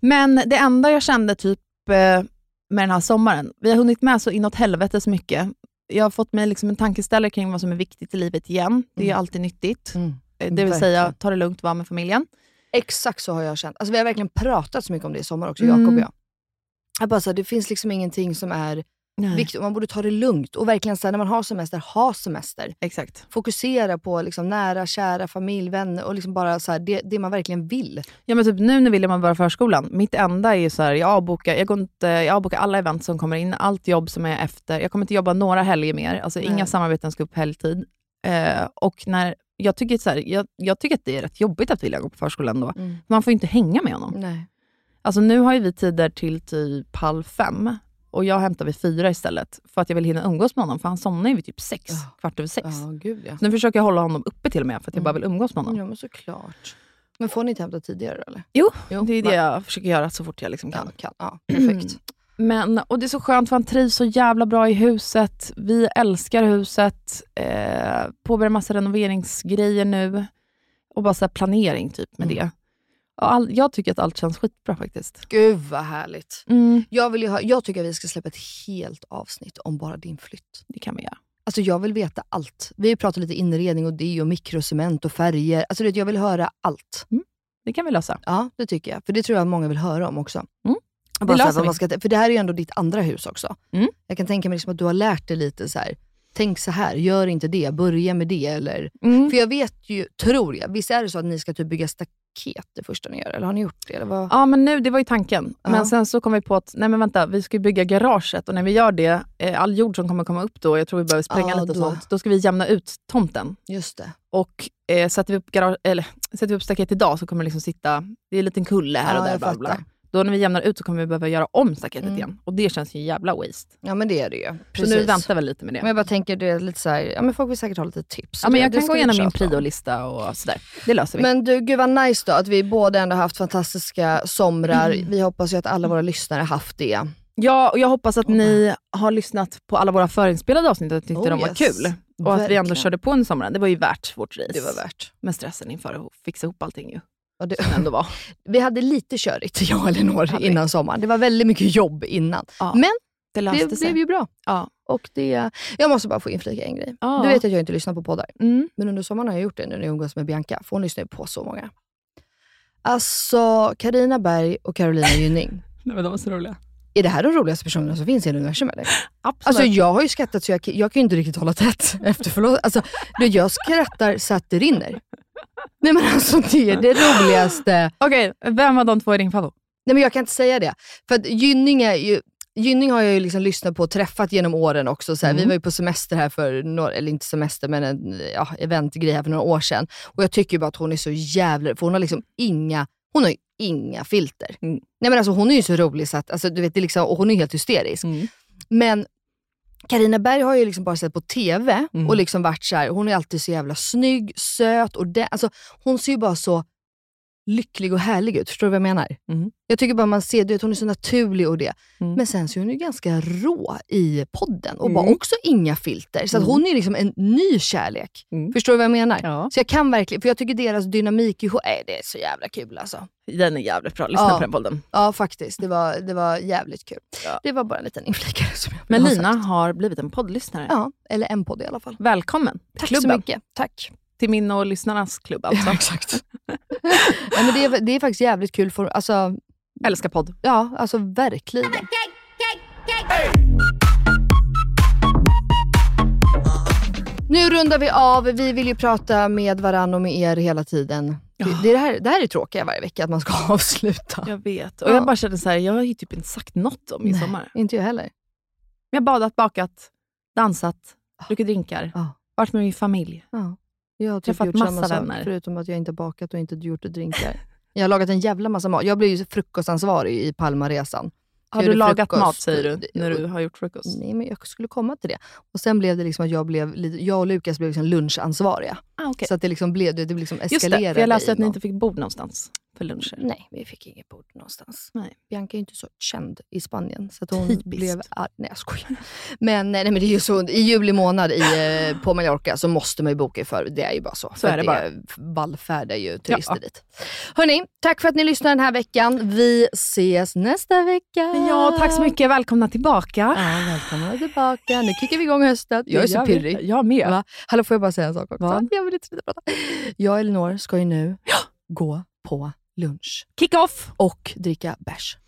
Men det enda jag kände typ eh, med den här sommaren, vi har hunnit med så inåt helvetes mycket. Jag har fått mig liksom en tankeställare kring vad som är viktigt i livet igen. Det är ju
Mm.
alltid nyttigt.
Mm.
Eh, Det vill
verkligen.
säga, ta det lugnt, vara med familjen.
Exakt så har jag känt. Alltså, vi har verkligen pratat så mycket om det i sommar också,
Mm.
Jakob och jag. jag bara, så här, det finns liksom ingenting som är viktigt. Man borde ta det lugnt och verkligen så här, när man har semester, ha semester.
Exakt.
Fokusera på liksom, nära, kära, familj, vänner och liksom bara så här, det, det man verkligen vill.
Ja, men typ nu när William har börjat förskolan, mitt enda är ju så här, jag avbokar, jag går inte, jag avbokar alla event som kommer in, allt jobb som är efter. Jag kommer inte jobba några helger mer, alltså
Nej.
inga samarbeten ska upp helgtid. Eh, och när, jag, tycker så här, jag, jag tycker att det är rätt jobbigt att William går på förskolan då.
Mm.
Man får ju inte hänga med honom.
Nej.
Alltså nu har ju vi tider till typ halv fem och jag hämtar vid fyra istället för att jag vill hinna umgås med honom, för han somnar ju vid typ sex,
Ja.
kvart över sex.
Ja, gud ja.
Så nu försöker jag hålla honom uppe till och med för att jag bara vill umgås med honom.
Ja, men såklart. Men får ni inte hämta tidigare då, eller?
Jo,
Jo,
det är det
va?
jag försöker göra så fort jag liksom kan.
Ja, kan. Mm. ja perfekt.
Men, och det är så skönt för han trivs så jävla bra i huset. Vi älskar huset. Eh, påbörjar massa renoveringsgrejer nu. Och bara så här planering typ
Mm.
med det. Och all, jag tycker att allt känns skitbra faktiskt.
Gud vad härligt.
Mm,
Jag, vill ju ha, jag tycker att vi ska släppa ett helt avsnitt om bara din flytt.
det kan vi göra.
Alltså jag vill veta allt. Vi har ju pratat lite inredning och det och mikrocement och färger. Alltså du vet, jag vill höra allt.
Det kan vi lösa.
Ja, det tycker jag. För det tror jag många vill höra om också.
Mm.
Och Bara
Det
så här,
löser
vad
vi.
man ska, för det här är ju ändå ditt andra hus också.
Mm.
Jag kan tänka mig liksom att du har lärt dig lite så här. tänk så här, gör inte det, börja med det. Eller,
Mm.
För jag vet ju, tror jag, visst är det så att ni ska typ bygga staket det första ni gör? Eller har ni gjort det? Eller vad?
Ja men nu, det var ju tanken.
Ja.
Men sen så kom vi på att, nej men vänta, vi ska ju bygga garaget och när vi gör det, eh, all jord som kommer komma upp då, jag tror vi behöver spränga
Ja,
lite och
då.
sånt, då ska vi jämna ut tomten.
Just det.
Och eh, sätter, vi upp garage, eller, sätter vi upp staket idag så kommer det liksom sitta, det är en liten kulle här
Ja,
och där.
jag
Bla, bla.
fattar.
Då när vi jämnar ut så kommer vi behöva göra om staketet
Mm.
igen. Och det känns ju jävla waste.
Ja men det är det ju. Precis.
Så nu väntar vi lite med det.
Men jag bara tänker, det är lite så här, ja, men folk vill säkert ha lite tips.
ja, men
Det-
jag
det
kan
ska
gå
vi
igenom min
tjata om.
priolista och sådär. Det löser vi.
Men du, gud vad nice då att vi båda ändå haft fantastiska somrar.
Mm.
Vi hoppas ju att alla våra lyssnare haft det.
ja, och jag hoppas att ni har lyssnat på alla våra förinspelade avsnitt och tyckte
Oh,
de var
yes.
kul. Och att vi ändå
Verkligen.
körde på under sommaren. Det var ju värt vårt race.
Det var värt.
Med stressen inför att fixa ihop allting ju.
Och det,
Som ändå var.
vi hade lite körigt, jag och Elinor,
Hade vi.
innan sommaren. Det var väldigt mycket jobb innan.
Ja,
Men
det löste
det
sig.
blev ju bra.
Ja.
Och det, jag måste bara få inflika en grej.
Ja.
Du vet att jag inte lyssnar på poddar,
Mm.
men under sommaren har jag gjort det nu när jag umgås med Bianca, för hon lyssnar ju på så många. Alltså, Karina Berg och Carolina Gynning.
Nej, men de var så roliga.
Är det här de roligaste personerna som finns i hela universum eller?
Absolut.
Alltså jag har ju skrattat så jag, jag kan ju inte riktigt hålla tätt efter förlåt. Alltså, du, jag skrattar så att det rinner. Nej men alltså det är det roligaste.
Okej, vem var de två i din favorit?
Nej men jag kan inte säga det. För att Gynning är ju Gynning har jag ju liksom lyssnat på och träffat genom åren också. Så här, Vi var ju på semester här för, några, eller inte semester, men en ja, eventgrej här för några år sedan. Och jag tycker ju bara att hon är så jävla, för hon har liksom inga, hon har ju inga filter.
Mm.
Nej men alltså hon är ju så rolig så att, alltså, du vet, det är liksom, och hon är ju helt hysterisk. Men Karina Berg har ju liksom bara sett på TV
Mm.
och liksom varit så här, hon är alltid så jävla snygg, söt och det, alltså, Hon ser ju bara så lycklig och härlig ut. Förstår du vad jag menar?
Mm.
Jag tycker bara man ser, du vet, hon är så naturlig och det.
Mm.
Men sen så är hon ju ganska rå i podden och bara
Mm.
också inga filter. Så att hon är liksom en ny kärlek.
Mm.
Förstår du vad jag menar?
Ja.
Så jag kan verkligen, för jag tycker deras dynamik ihop, nej, det är så jävla kul alltså.
Den är jävligt bra, lyssna
Ja.
på den podden.
Ja faktiskt, det var, det var jävligt kul.
Ja.
Det var bara en liten inflikare som jag
Men
ville ha
Lina
sagt.
har blivit en poddlyssnare.
Ja, eller en podd i alla fall.
Välkommen till
Tack
klubben.
så mycket. Tack.
Till min och lyssnarnas klubb alltså.
exakt. ja, men det, är, det är faktiskt jävligt kul. För, alltså,
Älskar podd.
ja, alltså verkligen. Nu rundar vi av. Vi vill ju prata med varandra och med er hela tiden. Det, det, är det, här, det här är tråkiga varje vecka, att man ska avsluta.
Jag vet. Och
Ja.
jag bara kände så här, jag har ju typ inte sagt något om min sommar.
Inte jag heller.
Men jag har badat, bakat, dansat, druckit drinkar,
Ja.
varit med min familj.
Ja. Jag har typ
Träffat
gjort
massa
samma
vänner.
sak, förutom att jag inte bakat och inte gjort drinkar. Jag har lagat en jävla massa mat. Jag blev ju frukostansvarig i Palmaresan.
Har
gjorde
du lagat
frukost.
mat säger du, när du har gjort frukost?
Nej, men jag skulle komma till det. Och Sen blev det liksom att jag, blev, lite- jag och Lukas blev liksom lunchansvariga.
Ah, okay.
Så att det liksom blev det, det liksom
Just
eskalerade.
det, för jag läste
i
att ni
någon-
inte fick bord någonstans för luncher.
Nej, vi fick inget bord någonstans.
Nej.
Bianca är ju inte så känd i Spanien. Så att hon
Typiskt.
blev arg. Nej, jag skojar. Men, nej, nej, men det är ju så, i juli månad i, eh, på Mallorca så måste man ju boka för Det är ju bara så. för
är
att
det bara.
Vallfärdar ju turister dit. Hörni, tack för att ni lyssnade den här veckan. Vi ses nästa vecka.
Ja, tack så mycket. Välkomna tillbaka.
Ja, välkomna tillbaka. Nu kickar vi igång hösten. Jag är så
Jag vet-
pirrig.
Jag med.
Va? Hallå, får jag bara säga en sak också?
Vad?
Jag vill inte sluta prata. Jag och Elinor ska ju nu gå på lunch
Kick-off!
och dricka bärs.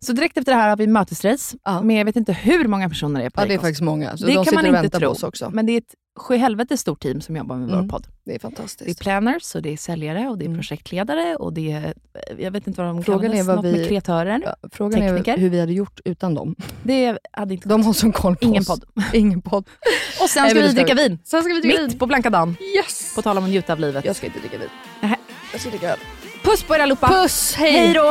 Så direkt efter det här har vi mötesrace
Ja.
med jag vet inte hur många personer det är på
Ja, det är
Rikos.
faktiskt många. Så
Det
de
kan
sitter
man
och
inte
väntar
tro.
på oss också.
Men det är ett sjuhelvete stort team som jobbar med
Mm.
vår podd.
Det är
Det är
fantastiskt.
planners, och det är säljare, och det är
Mm.
projektledare och det är, eh, jag vet inte vad de
Frågan
kallades,
är vad
något
vi-
med kreatörer.
Ja, Frågan
Tekniker.
är hur vi hade gjort utan dem.
Det hade inte
De har sån koll på
Ingen
oss.
podd.
Ingen podd.
Och sen
Nej, men
ska vi
det ska
dricka vin.
Sen ska vi dricka
Mitt
vin.
på blanka dagen.
Yes!
På tal om att njuta av livet.
Jag ska inte dricka vin.
Nähä.
Jag ska dricka öl.
Puss på er allihopa!
Puss, hej!
Hej då!